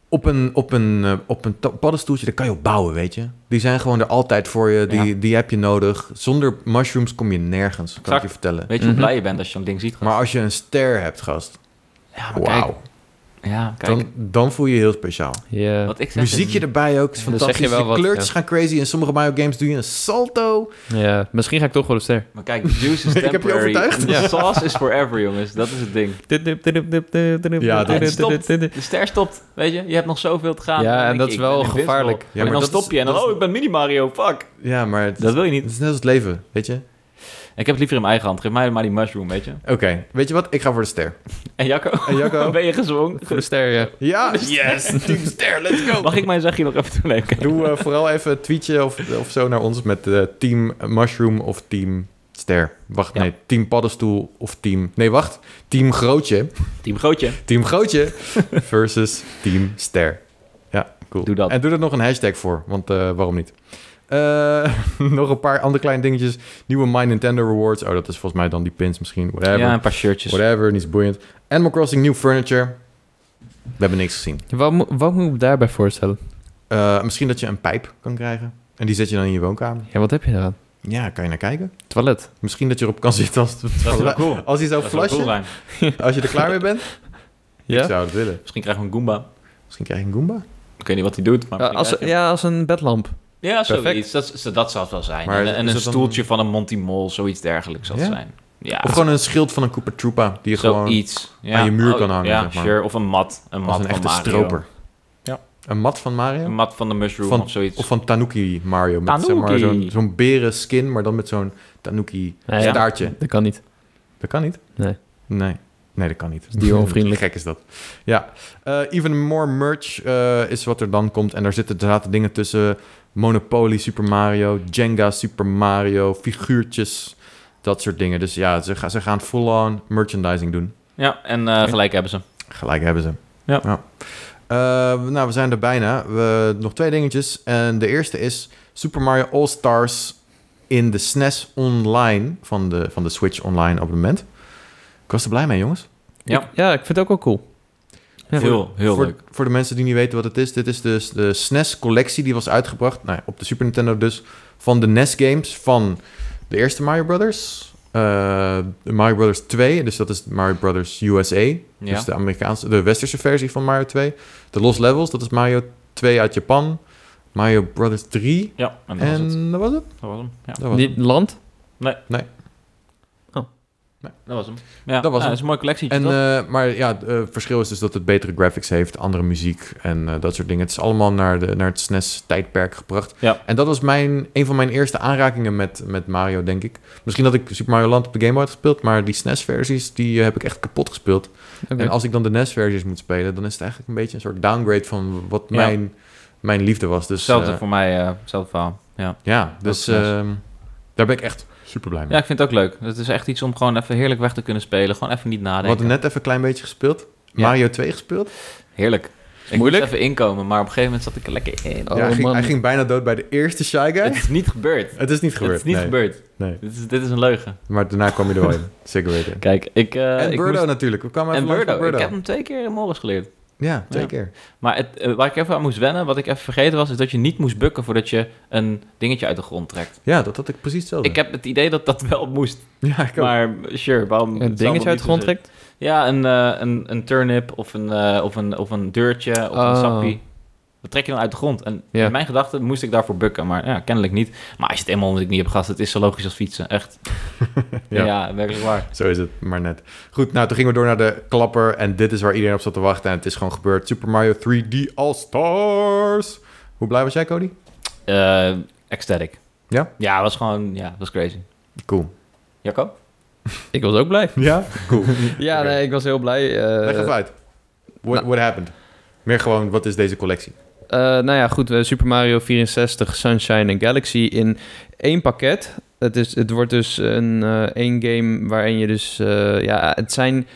S1: Op een, op een, eh, op een ta- paddenstoeltje, daar kan je op bouwen, weet je. Die zijn gewoon er altijd voor je. Die, die heb je nodig. Zonder mushrooms kom je nergens, kan
S2: Exact.
S1: ik je vertellen.
S2: Weet je hoe
S3: Mhm.
S2: blij je bent als je zo'n ding ziet? gast?
S1: Maar als je een ster hebt, gast.
S2: ja,
S3: Ah,
S2: maar kijk.
S1: Wauw.
S2: Ja, kijk.
S1: Dan, dan voel je je heel speciaal.
S3: Ja.
S2: wat ik zeg
S1: Muziekje erbij ook is
S3: dan zeg je
S1: fantastisch.
S3: wel
S1: de
S3: wat,
S1: kleurtjes
S3: ja.
S1: gaan crazy. In sommige Mario games doe je een salto.
S3: ja. Misschien ga ik toch wel op ster.
S2: Maar kijk, de juice
S1: Ik
S2: is
S1: heb je
S2: temporary.
S1: overtuigd.
S2: De
S3: Ja.
S2: sauce is forever, jongens. Dat is het ding.
S1: Ja,
S2: En het stopt.
S3: Ja,
S2: De ster stopt, weet je. Je hebt nog zoveel te gaan. Dan
S3: en
S2: denk
S3: dat
S2: je,
S3: is
S2: ik ben
S3: wel
S2: invincible.
S3: gevaarlijk.
S1: Ja,
S2: en
S1: maar
S2: dan
S1: dat
S2: stop
S1: is-
S2: je en dan,
S1: dat is-
S2: oh, ik ben mini-Mario, fuck.
S1: Ja, maar het,
S2: Dat wil je
S1: het
S2: niet.
S1: is net als het leven, weet je.
S2: Ik heb het liever in mijn eigen hand. Geef mij maar die mushroom, weet je.
S1: Oké, weet je wat? Ik ga voor de ster.
S2: En Jacco,
S1: En Jacco?
S2: ben je gezwongen?
S3: Voor de ster, ja.
S1: Ja, yes, team ster, let's go.
S2: Mag ik mijn zegje nog even doen? Nee, oké.
S1: Doe eh, vooral even een tweetje of, of zo naar ons met eh, Team Mushroom of Team Ster. Wacht,
S2: Ja.
S1: nee, Team Paddenstoel of Team... Nee, wacht. Team Grootje.
S2: Team Grootje.
S1: Team Grootje versus Team Ster. Ja, cool.
S2: Doe dat.
S1: En doe er nog een hashtag voor, want eh, waarom niet? Eh, nog een paar andere kleine dingetjes. Nieuwe My Nintendo Rewards. Oh, dat is volgens mij dan die pins misschien. Whatever.
S2: Ja, een paar shirtjes.
S1: Whatever, niet zo boeiend. Animal Crossing, nieuw furniture. We hebben niks gezien.
S3: Wat, mo- wat moet ik me daarbij voorstellen?
S1: Eh, misschien dat je een pijp kan krijgen. En die zet je dan in je woonkamer.
S3: Ja, wat heb je eraan?
S1: Ja, kan je naar kijken.
S3: Toilet.
S1: Misschien dat je erop kan zitten als,
S2: Dat is wel cool.
S1: als hij zou
S2: Dat zou cool
S1: flashen.
S2: zijn.
S1: als je er klaar mee bent. Ik
S3: Ja?
S1: zou het willen.
S2: Misschien krijgen we een Goomba.
S1: Misschien krijg je een Goomba.
S2: Ik weet niet wat hij doet, maar...
S3: Ja, als,
S2: misschien
S3: ja, als een bedlamp.
S2: krijg je- ja zoiets.
S3: perfect.
S2: Dat, is- dat zou het wel zijn.
S1: Maar
S2: en en
S1: is
S2: een
S1: het dan-
S2: stoeltje van een Monty Mol, zoiets dergelijks zal het
S1: Ja?
S2: zijn. Ja,
S1: Of gewoon een schild van een Koopa Troopa. Die je gewoon
S2: zoiets. Ja. Oh,
S1: aan je muur kan hangen,
S2: Ja,
S1: zeg maar.
S2: sure. Of een mat. Een mat
S1: als een
S2: van
S1: echte
S2: Mario.
S1: stroper.
S2: Ja.
S1: Een mat van Mario.
S2: Een mat van de mushroom
S1: Van-
S2: of zoiets.
S1: Of van Tanuki Mario. Met
S2: Tanuki.
S1: zeg maar zo'n zo'n beren skin, maar dan met zo'n Tanuki
S3: Nee, ja.
S1: staartje.
S3: Dat kan niet.
S1: Dat kan niet.
S3: Nee.
S1: Nee. Nee, dat kan niet.
S3: is dieronvriendelijk.
S1: Gek is dat. Ja. Eh, even more merch eh, is wat er dan komt. En daar zitten er zaten dingen tussen. Monopoly Super Mario, Jenga Super Mario, figuurtjes. Dat soort dingen. Dus ja, ze, ga- ze gaan full-on merchandising doen.
S2: Ja, en eh, gelijk hebben ze.
S1: Gelijk hebben ze.
S2: Ja.
S1: Eh, nou, we zijn er bijna. We, nog twee dingetjes. En de eerste is Super Mario All-Stars in de SNES Online van de, van de Switch Online abonnement. Ik was er blij mee, jongens.
S2: Ja,
S3: Ja, ik vind het ook wel cool. Ja.
S2: heel, heel
S1: voor,
S2: leuk.
S1: Voor de mensen die niet weten wat het is, dit is dus de SNES-collectie die was uitgebracht nou, ja, op de Super Nintendo dus van de NES-games van de eerste Mario Brothers, eh, de Mario Brothers 2, dus dat is Mario Brothers USA,
S2: Ja.
S1: dus de Amerikaanse, de westerse versie van Mario 2, de Lost Levels, dat is Mario 2 uit Japan, Mario Brothers 3
S2: Ja, en dat was het.
S1: en dat was het.
S2: Dat was hem. Ja.
S1: Dat was
S3: Die,
S1: het.
S3: land?
S2: Dat was hem. Ja,
S1: Dat was
S2: ja,
S1: hem.
S2: is een mooi collectie.
S1: En, eh, maar ja, eh, het verschil is dus dat het betere graphics heeft, andere muziek en eh, dat soort dingen. Het is allemaal naar, de, naar het SNES-tijdperk gebracht.
S2: Ja.
S1: En dat was mijn, een van mijn eerste aanrakingen met, met Mario, denk ik. Misschien dat ik Super Mario Land op de Game Boy had gespeeld, maar die SNES-versies die eh, heb ik echt kapot gespeeld.
S3: Oké.
S1: En als ik dan de NES-versies moet spelen, dan is het eigenlijk een beetje een soort downgrade van wat
S2: Ja.
S1: mijn, mijn liefde was. Dus
S2: hetzelfde
S1: eh,
S2: voor mij, eh, hetzelfde verhaal. Ja.
S1: ja, dus
S2: SNES.
S1: ehm, daar ben ik echt super blij
S2: E ja,
S1: mee.
S2: ik vind het ook leuk. Het is echt iets om gewoon even heerlijk weg te kunnen spelen. Gewoon even niet
S1: We hadden
S2: nadenken.
S1: net even een klein beetje gespeeld.
S2: Ja. Oh,
S1: Mario 2 gespeeld.
S2: Heerlijk. Ik
S3: moeilijk.
S2: moest even inkomen, maar op een gegeven moment zat ik er lekker in.
S3: Oh,
S1: ja, hij, ging,
S3: man.
S1: hij ging bijna dood bij de eerste Shy Guy.
S2: Het is niet gebeurd.
S1: Het is niet gebeurd.
S2: het is niet
S1: nee.
S2: gebeurd.
S1: Nee.
S2: Dit is, dit is een leugen.
S1: Maar daarna kwam je er wel in. Zeker weten.
S2: Kijk, ik... eh,
S1: en
S2: ik
S1: Birdo nou,
S2: moest-
S1: natuurlijk. We kwamen
S2: en
S1: even langs
S2: Birdo.
S1: bij Birdo.
S2: Ik heb hem twee keer in Morris geleerd.
S1: Ja, twee
S2: Ja.
S1: keer.
S2: Maar het, eh, waar ik even aan moest wennen, wat ik even vergeten was, is dat je niet moest bukken voordat je een dingetje uit de grond trekt.
S1: Ja, dat had ik precies hetzelfde.
S2: Ik heb het idee dat dat wel moest.
S1: ja, ik ook.
S2: Maar sure, waarom... het zal
S3: Een dingetje
S2: wel
S3: uit
S2: niet
S3: de grond
S2: zo zijn.
S3: trekt?
S2: Ja, een, eh, een, een turnip of een, eh, of een, of een deurtje of een
S3: Oh.
S2: sappie. Wat trek je dan uit de grond? En
S3: Ja.
S2: in mijn gedachten moest ik daarvoor bukken, maar ja, kennelijk niet. Maar als je het eenmaal omdat ik niet heb gehad, het is zo logisch als fietsen, echt.
S1: Ja.
S2: ja. werkelijk waar.
S1: Zo is het, maar net. Goed, nou toen gingen we door naar de klapper. En dit is waar iedereen op zat te wachten. En het is gewoon gebeurd. Super Mario 3D All-Stars. Hoe blij was jij, Cody?
S2: Eh ecstatic.
S1: Ja?
S2: Ja, was gewoon, ja, was crazy.
S1: Cool.
S2: Jacco?
S3: Ik was ook blij.
S1: Ja? Cool.
S3: Ja,
S1: Oké.
S3: nee, ik was heel blij. eh,
S1: Leg even uit. What,
S3: nou-
S1: what happened? Meer gewoon, wat is deze collectie?
S3: Eh, nou ja, goed. we hebben Super Mario 64, Sunshine en Galaxy in één pakket. Het, is, het wordt dus een eh, één game waarin je dus... eh, ja, het zijn...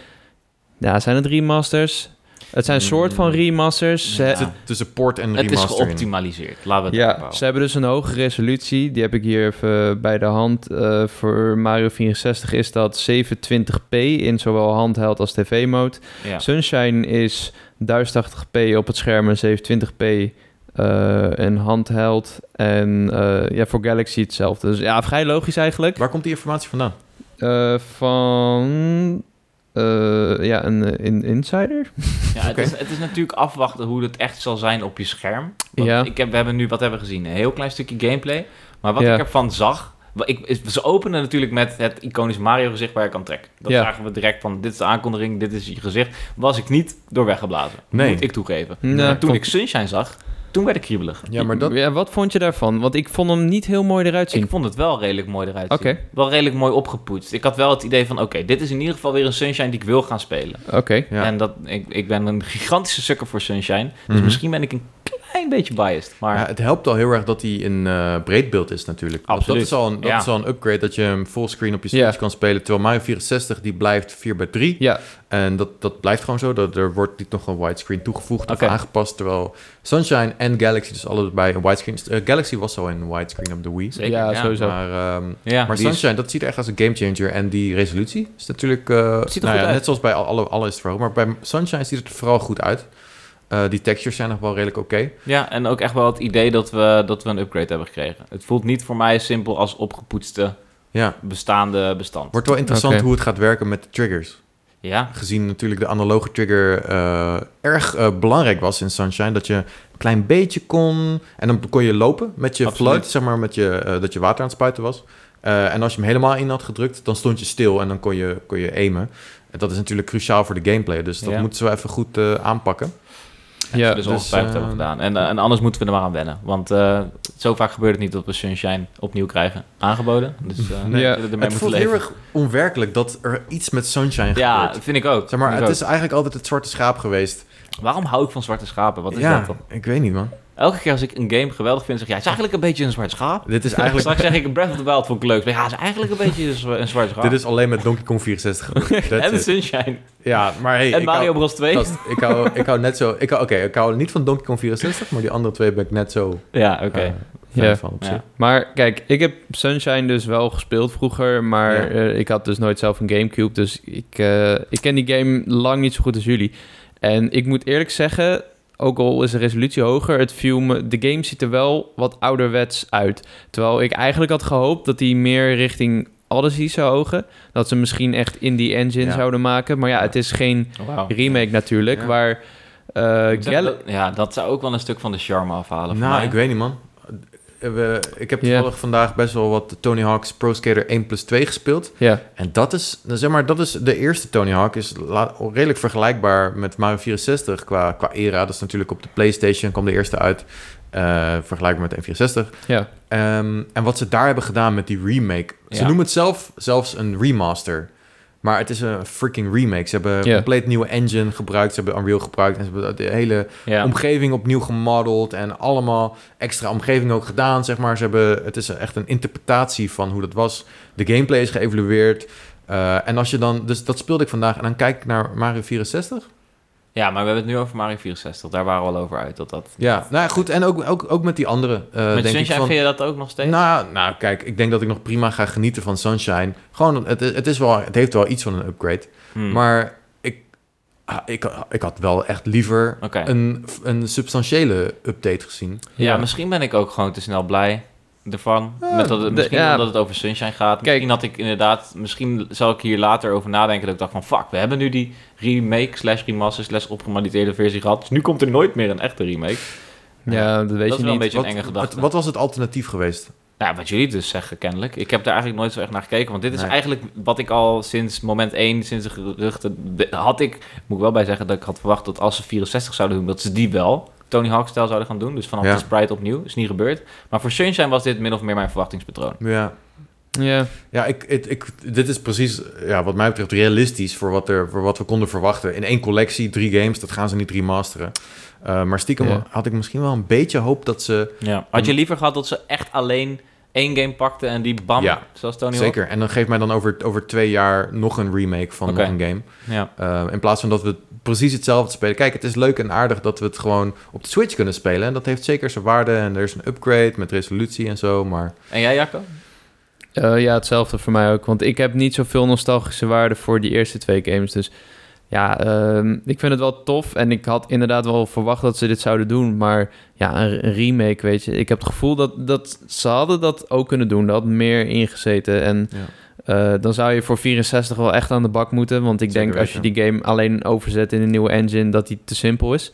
S3: Ja, zijn het remasters? Het zijn soort van
S2: Mm.
S3: remasters. Ze-
S2: Ja.
S1: Er Zit tussen port en
S2: Het is
S1: remaster in.
S2: geoptimaliseerd, laten we het daarop
S3: Ja,
S2: houden.
S3: ze hebben dus een hoge resolutie. Die heb ik hier even bij de hand. Eh, voor Mario 64 is dat 720p in zowel handheld als tv-mode.
S2: Ja.
S3: Sunshine is 1080p op het scherm en 720p eh en handheld. En eh, ja, voor Galaxy hetzelfde. Dus ja, vrij logisch eigenlijk.
S1: Waar komt die informatie vandaan?
S3: Eh, van... eh, ja, een, eh, een insider?
S2: Ja, het,
S1: Oké.
S2: is, het is natuurlijk afwachten hoe het echt zal zijn op je scherm. Want
S3: Ja.
S2: ik heb, we hebben nu wat hebben we gezien, een heel klein stukje gameplay. Maar wat
S3: Ja.
S2: ik ervan zag, wa- ik, is- ze openen natuurlijk met het iconisch Mario gezicht waar je kan trekken. Dat
S3: Ja.
S2: zagen we direct van, dit is de aankondiging, dit is je gezicht. Was ik niet door weggeblazen,
S1: Nee.
S2: moet ik toegeven.
S3: Nee,
S2: En toen
S3: vond-
S2: ik Sunshine zag, toen werd ik kriebelig.
S1: Ja, maar dat...
S3: Ja, wat vond je daarvan? Want ik vond hem niet heel mooi eruit zien.
S2: Ik vond het wel redelijk mooi eruit zien.
S3: Oké.
S2: Wel redelijk mooi opgepoetst. Ik had wel het idee van, oké, dit is in ieder geval weer een Sunshine die ik wil gaan spelen.
S3: Oké.
S1: Ja.
S2: En dat, ik, ik ben een gigantische sukker voor Sunshine. Dus
S1: Mhm.
S2: misschien ben ik een klein beetje biased. Maar
S1: Ja, het helpt al heel erg dat hij in eh breedbeeld is natuurlijk. Want
S2: Absoluut.
S1: Dat, is al een, dat
S2: Ja.
S1: is al een upgrade, dat je hem fullscreen op je
S3: Ja.
S1: Switch kan spelen. Terwijl Mario 64, die blijft 4x3.
S3: Ja,
S1: En dat, dat blijft gewoon zo. Dat, er wordt niet nog een widescreen toegevoegd
S2: Oké.
S1: of aangepast. Terwijl Sunshine en Galaxy, dus allebei een widescreen... eh, Galaxy was al een widescreen op de Wii.
S2: Zeker,
S3: ja,
S2: ja.
S3: sowieso.
S1: Maar, ehm,
S2: ja,
S1: maar
S2: die is-
S1: Sunshine, dat ziet er echt als een gamechanger. En die resolutie is natuurlijk... eh,
S2: ziet er
S1: nou
S2: goed
S1: ja,
S2: uit.
S1: Net zoals bij al- alle, alle is het vooral. Maar bij Sunshine ziet het er vooral goed uit. Eh, die textures zijn nog wel redelijk oké.
S2: ja, en ook echt wel het idee dat we, dat we een upgrade hebben gekregen. Het voelt niet voor mij simpel als opgepoetste
S1: Ja.
S2: bestaande bestand.
S1: Wordt wel interessant
S3: Oké.
S1: hoe het gaat werken met de triggers.
S2: Ja,
S1: Gezien natuurlijk de analoge trigger eh, erg eh, belangrijk was in Sunshine. Dat je een klein beetje kon... En dan kon je lopen met je
S2: Absoluut.
S1: flood, zeg maar, met je, eh, dat je water aan het spuiten was. Eh, en als je hem helemaal in had gedrukt, dan stond je stil en dan kon je, kon je aimen. En dat is natuurlijk cruciaal voor de gameplay. Dus dat
S2: Ja.
S1: moeten ze wel even goed eh, aanpakken.
S3: ja.
S2: dus
S1: dus, eh,
S2: ongetwijfeld hebben we gedaan. En, eh, en anders moeten we er maar aan wennen. Want eh, zo vaak gebeurt het niet dat we Sunshine opnieuw krijgen aangeboden. Dus eh
S1: Nee.
S2: we zullen ermee
S1: het
S2: moeten
S1: voelt heel
S2: leven.
S1: erg onwerkelijk dat er iets met Sunshine
S2: Ja,
S1: gebeurt.
S2: vind ik ook.
S1: Zeg maar,
S2: Vind
S1: het
S2: ik
S1: is eigenlijk altijd het zwarte schaap geweest.
S2: ook. Waarom hou ik van zwarte schapen? Wat is
S1: ja,
S2: dat dan?
S1: ik weet niet, man.
S2: Elke keer als ik een game geweldig vind, zeg jij, ja, het is eigenlijk een beetje een zwart schaap.
S1: Dit is eigenlijk
S2: Straks zeg ik Breath of the Wild vond ik leuk. Maar Ja, het is eigenlijk een beetje een zwa- een zwart schaap.
S1: Dit is alleen met Donkey Kong 64. gebeurd. That's
S2: en
S1: it.
S2: Sunshine.
S1: Ja, maar hey,
S2: en
S1: ik,
S2: Mario
S1: hou,
S2: Bros 2.
S1: gast, ik, hou, ik hou net zo... Ik hou, Oké, ik hou niet van Donkey Kong 64, maar die andere twee ben ik net zo
S2: Ja, oké.
S1: eh, fan
S3: Ja.
S1: van op
S2: Ja.
S1: zich.
S3: Maar kijk, ik heb Sunshine dus wel gespeeld vroeger, maar
S1: Ja.
S3: eh, ik had dus nooit zelf een Gamecube, dus ik, eh, ik ken die game lang niet zo goed als jullie. En ik moet eerlijk zeggen, ook al is de resolutie hoger, het viel me, de game ziet er wel wat ouderwets uit. Terwijl ik eigenlijk had gehoopt dat die meer richting Odyssey zou ogen, dat ze misschien echt in die engine
S1: Ja.
S3: zouden maken. Maar ja, het is geen remake natuurlijk,
S1: Ja.
S3: waar... eh, Gal-
S2: ja, dat zou ook wel een stuk van de charme afhalen. voor
S1: Nou,
S2: mij.
S1: ik weet niet, man. Eh, we- ik heb
S3: Ja.
S1: toevallig vandaag best wel wat Tony Hawk's Pro Skater 1 plus 2 gespeeld.
S3: ja,
S1: En dat is, nou, zeg maar, dat is de eerste Tony Hawk. Is la- redelijk vergelijkbaar met Mario 64 qua, qua era. Dat is natuurlijk op de PlayStation kwam de eerste uit. eh, vergelijkbaar met de N64.
S3: ja.
S1: Ehm, en wat ze daar hebben gedaan met die remake. Ze
S2: Ja.
S1: noemen het zelf zelfs een remaster. Maar het is een freaking remake. Ze hebben een
S3: Ja.
S1: compleet nieuwe engine gebruikt. Ze hebben Unreal gebruikt. En ze hebben de hele
S2: Ja.
S1: omgeving opnieuw gemodeld. En allemaal extra omgeving ook gedaan, zeg maar. Ze hebben, het is echt een interpretatie van hoe dat was. De gameplay is geëvalueerd. Eh, en als je dan... Dus dat speelde ik vandaag. En dan kijk ik naar Mario 64.
S2: ja, maar we hebben het nu over Mario 64. Daar waren we al over uit. Dat dat...
S1: Ja, nou ja, goed. En ook, ook, ook met die andere. eh,
S2: Met
S1: denk ik
S2: Sunshine
S1: van,
S2: vind je dat ook nog steeds?
S1: Nou, nou, kijk, ik denk dat ik nog prima ga genieten van Sunshine. Gewoon, het, het, is wel, het heeft wel iets van een upgrade.
S2: Hmm.
S1: Maar ik, ah, ik, ik had wel echt liever
S2: Oké.
S1: een, een substantiële update gezien.
S2: Ja,
S3: Ja.
S2: misschien ben ik ook gewoon te snel blij ervan.
S1: Ja,
S2: Met dat,
S3: de-
S2: misschien
S3: ja.
S2: omdat het over Sunshine gaat.
S3: Kijk.
S2: misschien had ik inderdaad... Misschien zal ik hier later over nadenken dat ik dacht van... Fuck, we hebben nu die remake slash remaster slash opgemanipuleerde versie gehad. Dus nu komt er nooit meer een echte remake.
S3: Ja, dat weet
S2: dat is
S3: je
S2: wel een
S3: niet.
S2: beetje
S1: Wat,
S2: een enge
S1: wat,
S2: gedachte.
S1: wat was het alternatief geweest?
S2: Ja, wat jullie dus zeggen, kennelijk. Ik heb daar eigenlijk nooit zo echt naar gekeken. Want dit is
S1: Nee.
S2: eigenlijk wat ik al sinds moment 1, sinds de geruchten... de- had ik, moet ik wel bij zeggen, dat ik had verwacht dat als ze 64 zouden doen... dat ze die wel Tony Hawk-stijl zouden gaan doen. Dus vanaf
S1: Ja.
S2: de sprite opnieuw. Is niet gebeurd. Maar voor Sunshine was dit min of meer mijn verwachtingspatroon.
S1: Ja,
S3: Ja,
S1: ja ik, ik, ik- dit is precies ja, wat mij betreft realistisch voor wat, er, voor wat we konden verwachten. In één collectie, drie games, dat gaan ze niet remasteren. Eh, maar stiekem
S3: Ja.
S1: had ik misschien wel een beetje hoop dat ze...
S2: Ja. Had je liever gehad dat ze echt alleen één game pakten en die bam,
S1: Ja.
S2: zoals Tony Hawk?
S1: zeker, en dan geeft mij dan over, over twee jaar nog een remake van
S2: Oké.
S1: nog een game.
S2: Ja.
S1: Eh, in plaats van dat we precies hetzelfde spelen. Kijk, het is leuk en aardig dat we het gewoon op de Switch kunnen spelen. En dat heeft zeker zijn waarde. En er is een upgrade met resolutie en zo. Maar
S2: En jij, Jacco?
S3: Eh, ja, hetzelfde voor mij ook. Want ik heb niet zoveel nostalgische waarde voor die eerste twee games. Dus ja, ehm, ik vind het wel tof. En ik had inderdaad wel verwacht dat ze dit zouden doen. Maar ja, een een remake, weet je. Ik heb het gevoel dat, dat ze hadden dat ook kunnen doen. Dat had meer ingezeten. En
S1: Ja.
S3: eh, dan zou je voor 64 wel echt aan de bak moeten. Want ik
S1: Zeker
S3: denk als je
S1: weten.
S3: die game alleen overzet in een nieuwe engine... dat die te simpel is.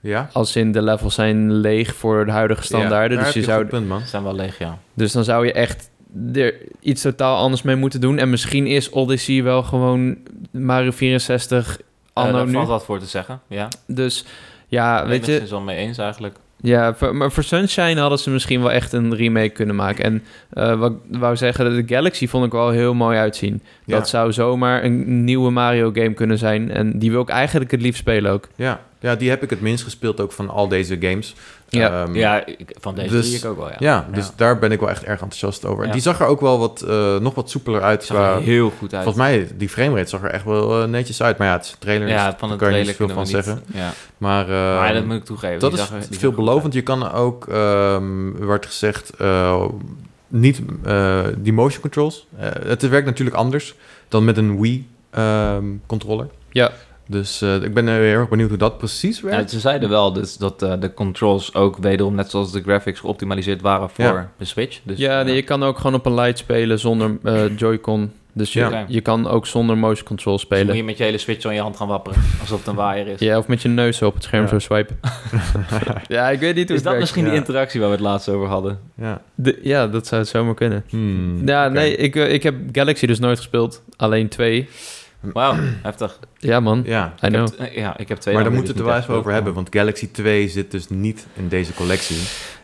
S1: ja.
S3: Als in de levels zijn leeg voor de huidige standaarden.
S1: Ja, daar heb
S3: dus je
S1: een
S3: zou
S1: goed punt, man.
S2: Ze zijn wel leeg, ja.
S3: dus dan zou je echt er iets totaal anders mee moeten doen. En misschien is Odyssey wel gewoon Mario 64
S2: Eh,
S3: anno
S2: daar
S3: nu.
S2: valt wat voor te zeggen,
S1: Ah,
S2: ja.
S3: Dus ja,
S2: Weet je...
S3: weet
S2: Ik
S3: je...
S2: ben het dus wel mee eens eigenlijk.
S3: Ja, voor- maar voor Sunshine hadden ze misschien wel echt een remake kunnen maken. En eh, wat ik wou zeggen, de Galaxy vond ik wel heel mooi uitzien.
S1: Ja.
S3: Dat zou zomaar een nieuwe Mario game kunnen zijn. En die wil ik eigenlijk het liefst spelen ook.
S1: Ja. ja, die heb ik het minst gespeeld ook van al deze games.
S3: Ja.
S1: Ehm,
S2: Ja, ik- van deze
S1: dus-
S2: zie ik ook wel, ja.
S1: ja, dus
S2: Ja.
S1: daar ben ik wel echt erg enthousiast over. En
S2: Ja.
S1: die zag er ook wel wat, eh, nog wat soepeler uit.
S2: Het zag
S1: qua-
S2: er heel goed uit.
S1: Volgens mij, die framerate zag er echt wel eh, netjes uit. Maar ja, het is een trailer, dus
S2: ja, van
S1: daar
S2: het
S1: kan je niet
S2: trailer
S1: zoveel
S2: kunnen
S1: van
S2: we niet.
S1: zeggen.
S2: Ja.
S1: Maar, eh,
S2: maar dat moet ik toegeven.
S1: Dat
S2: die
S1: is
S2: zag er- die zag er goed
S1: veelbelovend. Je kan ook, ehm werd gezegd, eh, niet eh, die motion controls. Eh, het werkt natuurlijk anders dan met een Wii-controller.
S3: Ja.
S1: Dus eh, ik ben eh, heel erg benieuwd hoe dat precies
S2: uit. Ja,
S1: werkt.
S2: ze zeiden wel dus dat eh, de controls ook wederom, net zoals de graphics, geoptimaliseerd waren voor
S1: Ja.
S2: de Switch. Dus,
S3: ja,
S2: eh,
S3: je kan ook gewoon op een light spelen zonder eh, Joy-Con. Dus je,
S2: Ja.
S3: je kan ook zonder motion control
S2: dus
S3: spelen.
S2: moet je met je hele Switch zo in je hand gaan wapperen, alsof het een waaier is.
S3: Ja, of met je neus op het scherm
S1: Ja.
S3: zo swipen. ja, ik weet niet
S2: Is
S3: hoe het
S2: dat
S3: werkt.
S2: misschien de
S1: ja.
S2: interactie waar we het laatst over hadden?
S1: Ja.
S3: De- ja, dat zou het zomaar kunnen.
S1: Hmm,
S3: Ja,
S1: oké.
S3: nee, ik, eh, ik heb Galaxy dus nooit gespeeld. Alleen twee.
S2: Wauw, heftig.
S3: Ja, man.
S1: Ja.
S3: I know.
S2: Ik heb t- eh, Ja, ik heb twee.
S1: Maar daar
S2: dan
S1: moeten we
S2: moet
S1: het er wel even over hebben, want Galaxy 2 zit dus niet in deze collectie.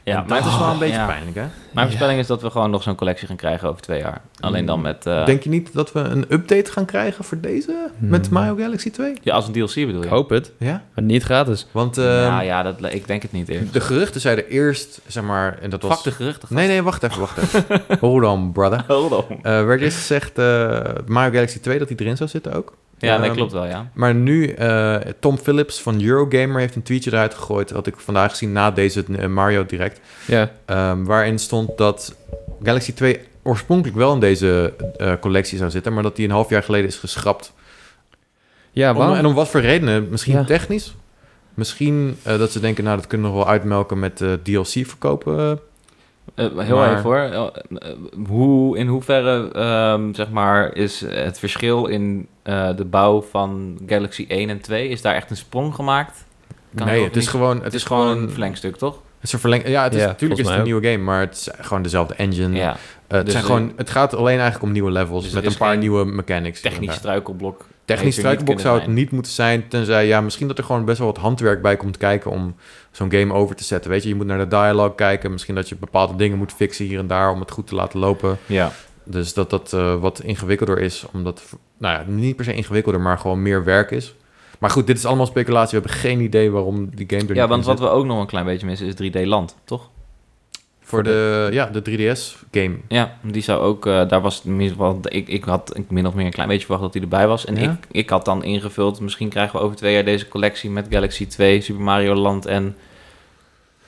S2: Ja, oh,
S1: En dat is wel een beetje
S2: ja.
S1: pijnlijk, hè?
S2: Mijn voorspelling is dat we gewoon nog zo'n collectie gaan krijgen over twee jaar. Alleen dan met... eh,
S1: Mm. Denk je niet dat we een update gaan krijgen voor deze? eh, Met
S3: Hmm.
S1: Mario Galaxy 2?
S2: Ja, als een DLC bedoel
S3: Ik
S2: je?
S3: hoop het,
S1: Ja?
S3: maar niet gratis.
S1: Want ehm,
S2: ja, ja, dat, ik denk het niet eerst.
S1: de geruchten zeiden eerst, zeg maar... En dat was...
S2: Fuck de geruchten.
S1: Nee, nee, wacht even, wacht even. Hold on, brother.
S2: Hold on.
S1: Eh, werd eerst gezegd eh, Mario Galaxy 2 dat die erin zou zitten ook.
S2: Ja, dat
S1: Ehm,
S2: klopt wel, ja.
S1: Maar nu, eh, Tom Phillips van Eurogamer heeft een tweetje eruit gegooid... had ik vandaag gezien na deze eh, Mario Direct...
S3: Ja,
S1: ehm, waarin stond dat Galaxy 2 oorspronkelijk wel in deze eh, collectie zou zitten... maar dat die een half jaar geleden is geschrapt.
S3: ja
S1: Om-
S3: waarom?
S1: en om wat voor redenen? Misschien
S3: Ja.
S1: technisch? Misschien eh, dat ze denken, nou, dat kunnen we nog wel uitmelken met eh, DLC verkopen. eh.
S2: Eh, heel
S1: maar-
S2: even hoor. Eh, eh, hoe, in hoeverre ehm, zeg maar, is het verschil in eh, de bouw van Galaxy 1 en 2? Is daar echt een sprong gemaakt? Kan
S1: nee,
S2: ook
S1: het is
S2: niet.
S1: gewoon... Het,
S2: Het
S1: is,
S2: is gewoon een
S1: gewoon
S2: verlengstuk, toch?
S1: Het is een verleng- Ja, het is,
S3: Ja,
S1: natuurlijk is
S3: volgens
S1: het een
S3: mij
S1: nieuwe game, maar het is gewoon dezelfde engine. Eh,
S2: Ja,
S1: het,
S2: Dus
S1: zijn
S2: de-
S1: gewoon, het gaat alleen eigenlijk om nieuwe levels
S2: Dus er
S1: met een
S2: is
S1: paar
S2: geen
S1: nieuwe mechanics. hier en
S2: technisch
S1: daar.
S2: struikelblok.
S1: Technisch
S2: heeft er niet
S1: struikelblok
S2: kunnen
S1: zou het
S2: zijn.
S1: niet moeten zijn, tenzij ja, misschien dat er gewoon best wel wat handwerk bij komt kijken om zo'n game over te zetten. Weet je, je moet naar de dialogue kijken, misschien dat je bepaalde dingen moet fixen hier en daar om het goed te laten lopen.
S2: Ja.
S1: Dus dat dat eh, wat ingewikkelder is, omdat, nou ja, niet per se ingewikkelder, maar gewoon meer werk is. Maar goed, dit is allemaal speculatie. We hebben geen idee waarom die game er niet
S2: ja,
S1: in
S2: want
S1: zit.
S2: wat we ook nog een klein beetje missen is 3D Land, toch?
S1: Voor de, ja, de 3DS-game
S2: Ja, die zou ook, eh, daar was, het mis- want ik, ik had ik min of meer een klein beetje verwacht dat hij erbij was. En
S1: Ja?
S2: ik, ik had dan ingevuld, misschien krijgen we over twee jaar deze collectie met Galaxy 2, Super Mario Land en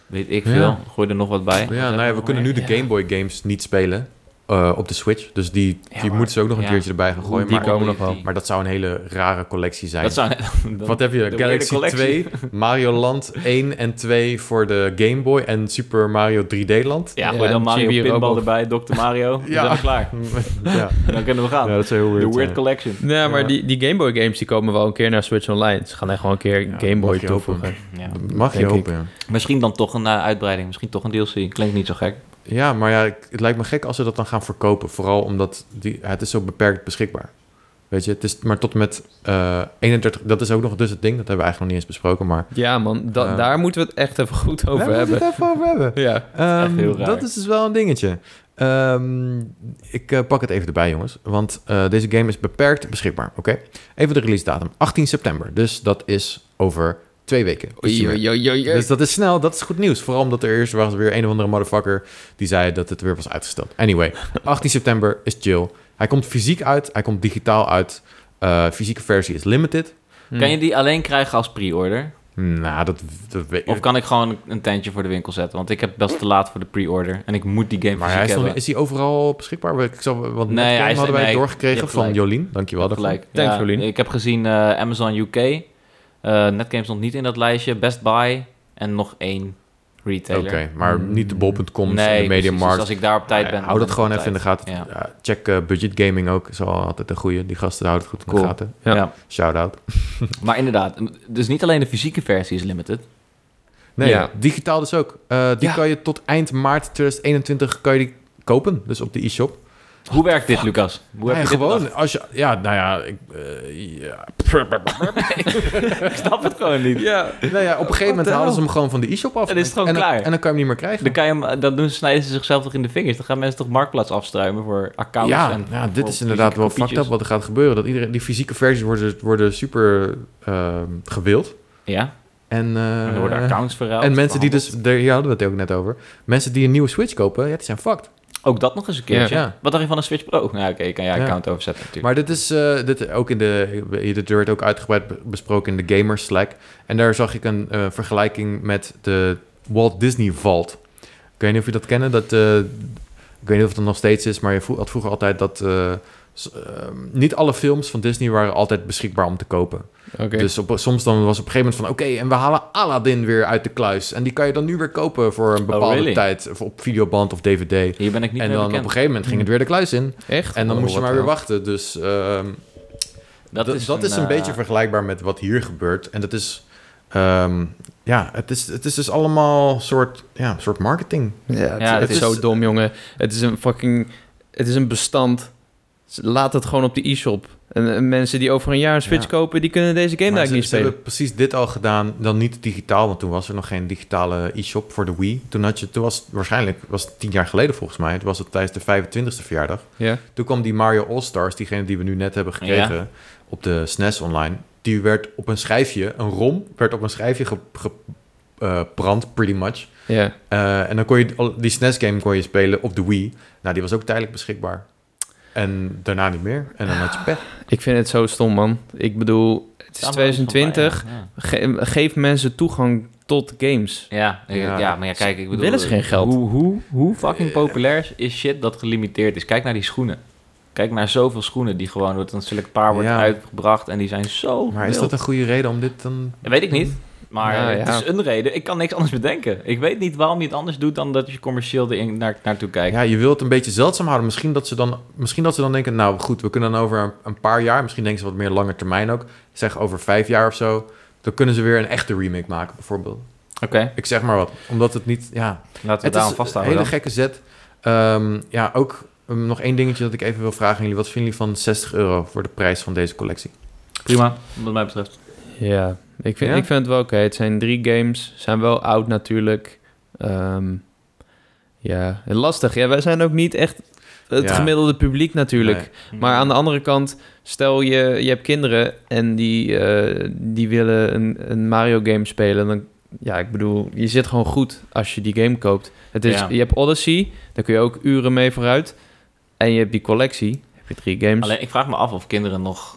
S2: weet ik
S1: Ja.
S2: veel. Gooi er nog wat bij.
S1: nou Ja, nou ja, we kunnen nu de Game Boy games niet spelen. eh, op de Switch. Dus die,
S2: Ja,
S1: die
S2: maar-
S1: moeten ze ook nog een
S2: ja.
S1: keertje erbij gaan gooien.
S3: die
S1: Maar,
S3: komen nog wel.
S1: maar dat zou een hele rare collectie zijn.
S2: Dat zou... dan-
S1: Wat heb je?
S2: de
S1: Galaxy
S2: hele collectie.
S1: 2, Mario Land 1 en 2 voor de Game Boy en Super Mario 3D Land.
S2: Ja,
S3: Ja,
S2: gooi dan
S3: en
S2: Mario
S3: Chibi
S2: Pinball
S3: Robo.
S2: erbij, Dr. Mario. Dan
S1: Ja.
S2: zijn we klaar.
S1: ja.
S2: Dan kunnen we gaan.
S1: ja, dat zou heel
S2: The
S1: weird
S2: Weird
S1: zijn.
S2: Collection.
S3: Nee, maar
S1: Ja.
S3: die, die Game Boy games die komen wel een keer naar Switch Online. Ze gaan echt gewoon een keer
S1: Ja,
S3: Game Boy
S1: mag je hopen.
S3: toevoegen.
S2: Ja.
S1: Dat Mag je
S3: Denk ik.
S1: hopen, ja.
S2: Misschien dan toch een eh, uitbreiding. Misschien toch een DLC. Klinkt niet zo gek.
S1: Ja, maar ja, ik- het lijkt me gek als ze dat dan gaan verkopen. Vooral omdat die, het is zo beperkt beschikbaar. Weet je, het is maar tot en met eh 31... Dat is ook nog dus het ding, dat hebben we eigenlijk nog niet eens besproken, maar...
S3: Ja, man, da-
S1: Ja.
S3: daar moeten we het echt even goed over
S1: Daar moeten
S3: hebben.
S1: we het even over hebben.
S3: Ja.
S2: echt
S1: Ehm,
S2: heel raar.
S1: Dat is dus wel een dingetje. Ehm, ik eh, pak het even erbij, jongens. Want eh, deze game is beperkt beschikbaar, oké? Even de release datum. 18 september. Dus dat is over twee weken.
S3: Oei, oei, oei, oei, oei.
S1: Dus dat is snel, dat is goed nieuws. Vooral omdat er eerst was weer een of andere motherfucker die zei dat het weer was uitgesteld. Anyway, 18 september is chill. Hij komt fysiek uit, hij komt digitaal uit. Eh, fysieke versie is limited.
S3: Hm.
S2: Kan je die alleen krijgen als pre-order?
S1: Nou, dat, dat weet
S2: Of kan ik gewoon een tentje voor de winkel zetten? Want ik heb best te laat voor de pre-order. En ik moet die game
S1: Maar hij
S2: fysiek
S1: is, nog
S2: hebben.
S1: niet- is hij overal beschikbaar? Want Ik zal, want net
S2: Nee, hij
S1: game
S2: is-
S1: hadden wij
S2: nee, je
S1: doorgekregen
S2: hebt
S1: van
S2: gelijk.
S1: Jolien. Dankjewel daarvoor.
S2: Gelijk.
S3: Thanks, Jolien.
S2: Ik heb gezien eh, Amazon UK. eh, Netgames stond niet in dat lijstje. Best Buy. En nog één retailer.
S1: Oké, maar niet de bol.com,
S2: Mm. Nee,
S1: en de
S2: precies. Dus
S1: mediamarkt.
S2: als ik daar op tijd ben...
S1: Hou dat
S2: dan
S1: gewoon
S2: ben
S1: even
S2: ik
S1: in de
S2: op
S1: gaten.
S2: tijd.
S1: Ja, check eh, Budget Gaming ook. Is al altijd een goede. Die gasten houden het goed in
S2: Cool.
S1: de gaten.
S2: Ja.
S3: Ja.
S2: Ja.
S1: Shout-out.
S2: Maar inderdaad, dus niet alleen de fysieke versie is limited.
S1: Nee,
S3: Ja.
S1: digitaal dus ook. Eh, die
S2: Ja.
S1: kan je tot eind maart 2021 kan je die kopen. Dus op de e-shop.
S2: Hoe werkt dit, Lucas? Hoe
S1: Nee,
S2: heb je dit
S1: gewoon. Als je, ja, nou ja. Ik, eh, ja.
S2: bedacht? Ik snap het gewoon niet.
S3: Ja.
S1: Nou ja, op een gegeven moment
S3: hell?
S1: halen ze hem gewoon van de e-shop af.
S2: En is het gewoon
S1: dan-
S2: klaar.
S1: en dan kan je hem niet meer krijgen.
S2: Dan, kan je hem, dan doen, snijden ze zichzelf toch in de vingers. Dan gaan mensen toch marktplaats afstruimen voor accounts.
S1: ja,
S2: en
S1: ja, dit
S2: voor
S1: is inderdaad wel
S2: fysieke
S1: fucked up wat er gaat gebeuren. Dat iedereen, die fysieke versies worden, worden super ehm, gewild.
S2: kopietjes. Ja,
S1: En, eh,
S2: en er worden accounts verruild.
S1: en mensen die dus, daar hier hadden we het ook net over. Mensen die een nieuwe Switch kopen, ja, die zijn fucked.
S2: Ook dat nog eens een keertje.
S1: dus- Ja. Ja.
S2: Wat dacht je van een Switch Pro? Nou, oké, je kan je
S1: Ja.
S2: account overzetten natuurlijk.
S1: Maar dit is eh, dit ook in de. Dit werd ook uitgebreid be- besproken in de Gamers Slack. En daar zag ik een eh, vergelijking met de Walt Disney Vault. Ik weet niet of je dat kennen. Dat, eh, ik weet niet of het er nog steeds is, maar je vro- had vroeger altijd dat. eh, s- eh, niet alle films van Disney waren altijd beschikbaar om te kopen.
S3: Oké.
S1: Dus op, soms dan was op een gegeven moment van... oké, en we halen Aladdin weer uit de kluis. En die kan je dan nu weer kopen voor een bepaalde
S2: Oh, really?
S1: tijd... of op videoband of dvd.
S2: Hier ben ik niet
S1: En
S2: meer
S1: dan op
S2: bekend. Hmm.
S1: een gegeven moment ging het weer de kluis in.
S3: Echt?
S1: En dan
S3: Oh,
S1: moest je
S3: wat
S1: maar weer
S3: dan?
S1: wachten. Dus ehm, dat, is, dat een, is een
S2: eh,
S1: beetje vergelijkbaar met wat hier gebeurt. En dat is... ehm, ja, het is, het is dus allemaal soort, ja, soort marketing.
S3: Ja, het,
S2: Ja,
S3: het
S2: het
S3: is
S1: is-
S3: zo dom, jongen. Het is een fucking... Het is een bestand. Laat het gewoon op de e-shop. En, en mensen die over een jaar een Switch
S1: Ja.
S3: kopen... die kunnen deze game daar
S1: Maar ze,
S3: eigenlijk niet
S1: ze
S3: spelen.
S1: hebben precies dit al gedaan, dan niet digitaal. Want toen was er nog geen digitale e-shop voor de Wii. Toen, had je, toen was het waarschijnlijk, was het tien jaar geleden volgens mij. Het was het tijdens de 25e verjaardag.
S3: Ja.
S1: Toen kwam die Mario All-Stars, diegene die we nu net hebben gekregen op de SNES online. Die werd op een schijfje, een rom, werd op een schijfje gebrand, pretty much.
S3: Ja.
S1: Eh, en dan kon je al- die SNES-game kon je spelen op de Wii. Nou, die was ook tijdelijk beschikbaar. En daarna niet meer. En dan had je pech.
S3: Ik vind het zo stom, man. Ik bedoel, het is
S2: staan we wel eens van
S3: 2020.
S2: bij, Ja,
S3: Ge- geef mensen toegang tot games.
S2: ja, ik-
S1: Ja.
S2: Eh, ja, maar ja, kijk, ik bedoel...
S3: Willen ze geen geld?
S2: Hoe, hoe, hoe fucking populair is shit dat gelimiteerd is? Kijk naar die schoenen. Kijk naar zoveel schoenen die gewoon door een select paar wordt
S1: Ja.
S2: uitgebracht. En die zijn zo
S1: Maar is
S2: Ah, wild.
S1: dat een goede reden om dit dan...
S2: Dat weet ik niet. Maar
S3: Nou, ja.
S2: het is een reden. Ik kan niks anders bedenken. Ik weet niet waarom je het anders doet dan dat je commercieel erin naar, naartoe kijkt.
S1: Ja, je wilt het een beetje zeldzaam houden. Misschien dat ze dan, misschien dat ze dan denken, nou goed, we kunnen dan over een, een paar jaar, misschien denken ze wat meer lange termijn ook, zeg over vijf jaar of zo, dan kunnen ze weer een echte remake maken bijvoorbeeld.
S2: Oké,
S1: Ik zeg maar wat, omdat het niet, ja,
S2: laten we
S1: het
S2: daarom
S1: is een
S2: vasthouden.
S1: hele
S2: dan.
S1: gekke zet. Ehm, ja, ook ehm, nog één dingetje dat ik even wil vragen aan jullie. Wat vinden jullie van 60 euro voor de prijs van deze collectie?
S2: Prima, wat mij betreft.
S3: Ja, ik vind,
S1: Ja?
S3: Ik vind het wel oké. Het zijn drie games, zijn wel oud natuurlijk. Ehm, ja, lastig. Ja, wij zijn ook niet echt het
S1: Ja.
S3: gemiddelde publiek natuurlijk. Maar
S1: Mm.
S3: aan de andere kant, stel je, je hebt kinderen en die, eh, die willen een, een Mario game spelen. Dan, ja, ik bedoel, je zit gewoon goed als je die game koopt. Het is,
S2: Ja.
S3: Je hebt Odyssey, daar kun je ook uren mee vooruit. En je hebt die collectie. Voor drie games.
S2: Alleen ik vraag me af of kinderen nog,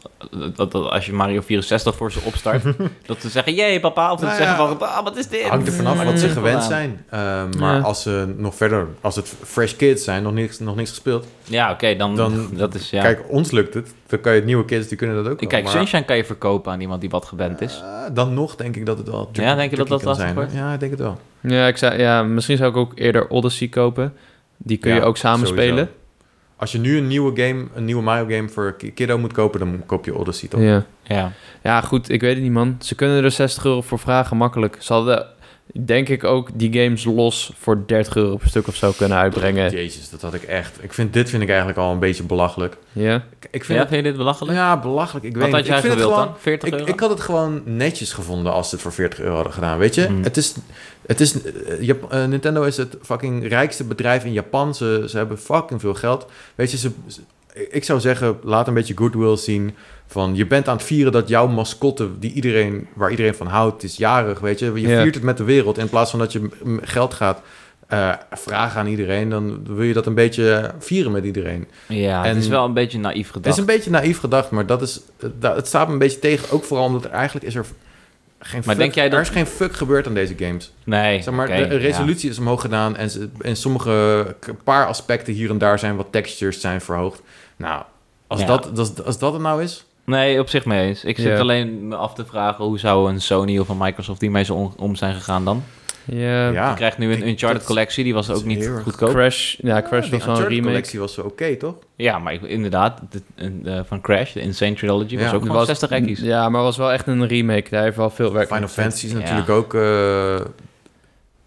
S2: dat, dat als je Mario 64 voor ze opstart, dat ze zeggen, jee papa, of dat ze
S1: Nou ja,
S2: zeggen van, ah, wat is dit?
S1: Hangt er vanaf
S3: Mm.
S1: wat ze
S2: Waar
S1: gewend
S2: aan?
S1: zijn. Eh, maar
S3: Ja.
S1: als ze nog verder, als het fresh kids zijn, nog niks, nog niks gespeeld.
S2: Ja, oké, dan,
S1: Dan-
S2: dat is, ja.
S1: Kijk, ons lukt het. Dan kan je nieuwe kids, die kunnen dat ook wel,
S2: Kijk,
S1: maar-
S2: Sunshine kan je verkopen aan iemand die wat gewend is.
S1: Eh, dan nog denk ik dat het wel
S2: dus. Ja, denk je dat dat
S1: tricky kan
S2: lastig
S1: zijn,
S2: wordt?
S1: hoor. Ja, ik denk het wel.
S3: Ja, ik zou, ja, misschien zou ik ook eerder Odyssey kopen. Die kun je
S1: Ja,
S3: ook samen
S1: sowieso.
S3: spelen.
S1: Als je nu een nieuwe game, een nieuwe Mario game voor ki- kiddo moet kopen, dan koop je Odyssey toch?
S3: Ja.
S2: Ja.
S3: ja, goed, ik weet het niet, man. Ze kunnen er 60 euro voor vragen, makkelijk. Ze hadden, denk ik, ook die games los voor 30 euro per stuk of zo kunnen uitbrengen.
S1: Jezus, dat had ik echt. Ik vind, dit vind ik eigenlijk al een beetje belachelijk.
S3: Ja,
S1: Ik, ik vind
S2: Ja, vind je dit belachelijk?
S1: het, ja, belachelijk. Ik
S2: wat
S1: weet
S2: had
S1: niet.
S2: jij
S1: Ik vind het
S2: gewild
S1: gewoon,
S2: dan? 40
S1: ik,
S2: euro?
S1: ik had het gewoon netjes gevonden als ze het voor 40 euro hadden gedaan, weet je?
S2: Hmm.
S1: Het is, het is, eh, Jap- eh, Nintendo is het fucking rijkste bedrijf in Japan. Ze, ze hebben fucking veel geld. Weet je, ze, ze- ik zou zeggen, laat een beetje goodwill zien. Van, je bent aan het vieren dat jouw mascotte, die iedereen, waar iedereen van houdt, is jarig, weet je? Je
S3: Ja.
S1: viert het met de wereld in plaats van dat je mm, geld gaat... eh, vragen aan iedereen, dan wil je dat een beetje eh, vieren met iedereen.
S2: Ja,
S1: En-
S2: het is wel een beetje naïef
S1: Het is
S2: gedacht.
S1: een beetje naïef gedacht, maar dat is, dat, het staat me een beetje tegen. Ook vooral omdat er eigenlijk is er geen
S2: Maar
S1: fuck,
S2: denk jij
S1: er
S2: dat-
S1: is geen fuck gebeurd aan deze games.
S2: Nee,
S1: Zeg maar,
S2: oké,
S1: de
S2: ja.
S1: resolutie is omhoog gedaan en, ze- en sommige een paar aspecten hier en daar zijn wat textures zijn verhoogd. Nou, als,
S2: Ja.
S1: dat, als, als dat het nou is,
S2: Nee, op zich mee eens. Ik zit
S3: Ja.
S2: alleen me af te vragen hoe zou een Sony of een Microsoft die mee zo on- om zijn gegaan dan?
S3: ja.
S1: ja.
S2: je krijgt nu
S1: ik-
S2: een Uncharted
S1: Ah, dat-
S2: collectie, die was
S1: dat
S2: ook
S1: is
S2: niet
S1: heel erg
S2: goedkoop.
S3: Crash,
S2: Ah,
S3: ja, Crash
S1: die
S3: was wel een
S1: Uncharted
S3: remake.
S1: collectie was wel oké, toch?
S2: Ja, maar ik- inderdaad, de- eh, van Crash, de Insane Trilogy,
S1: Ja.
S2: was ook
S3: Het
S2: gewoon
S3: was-
S2: 60 ekkies.
S3: Ja, maar was wel echt een remake. Daar heeft wel veel werk
S1: Final
S3: aan
S1: Fantasy is
S2: Ja.
S1: natuurlijk ook... eh,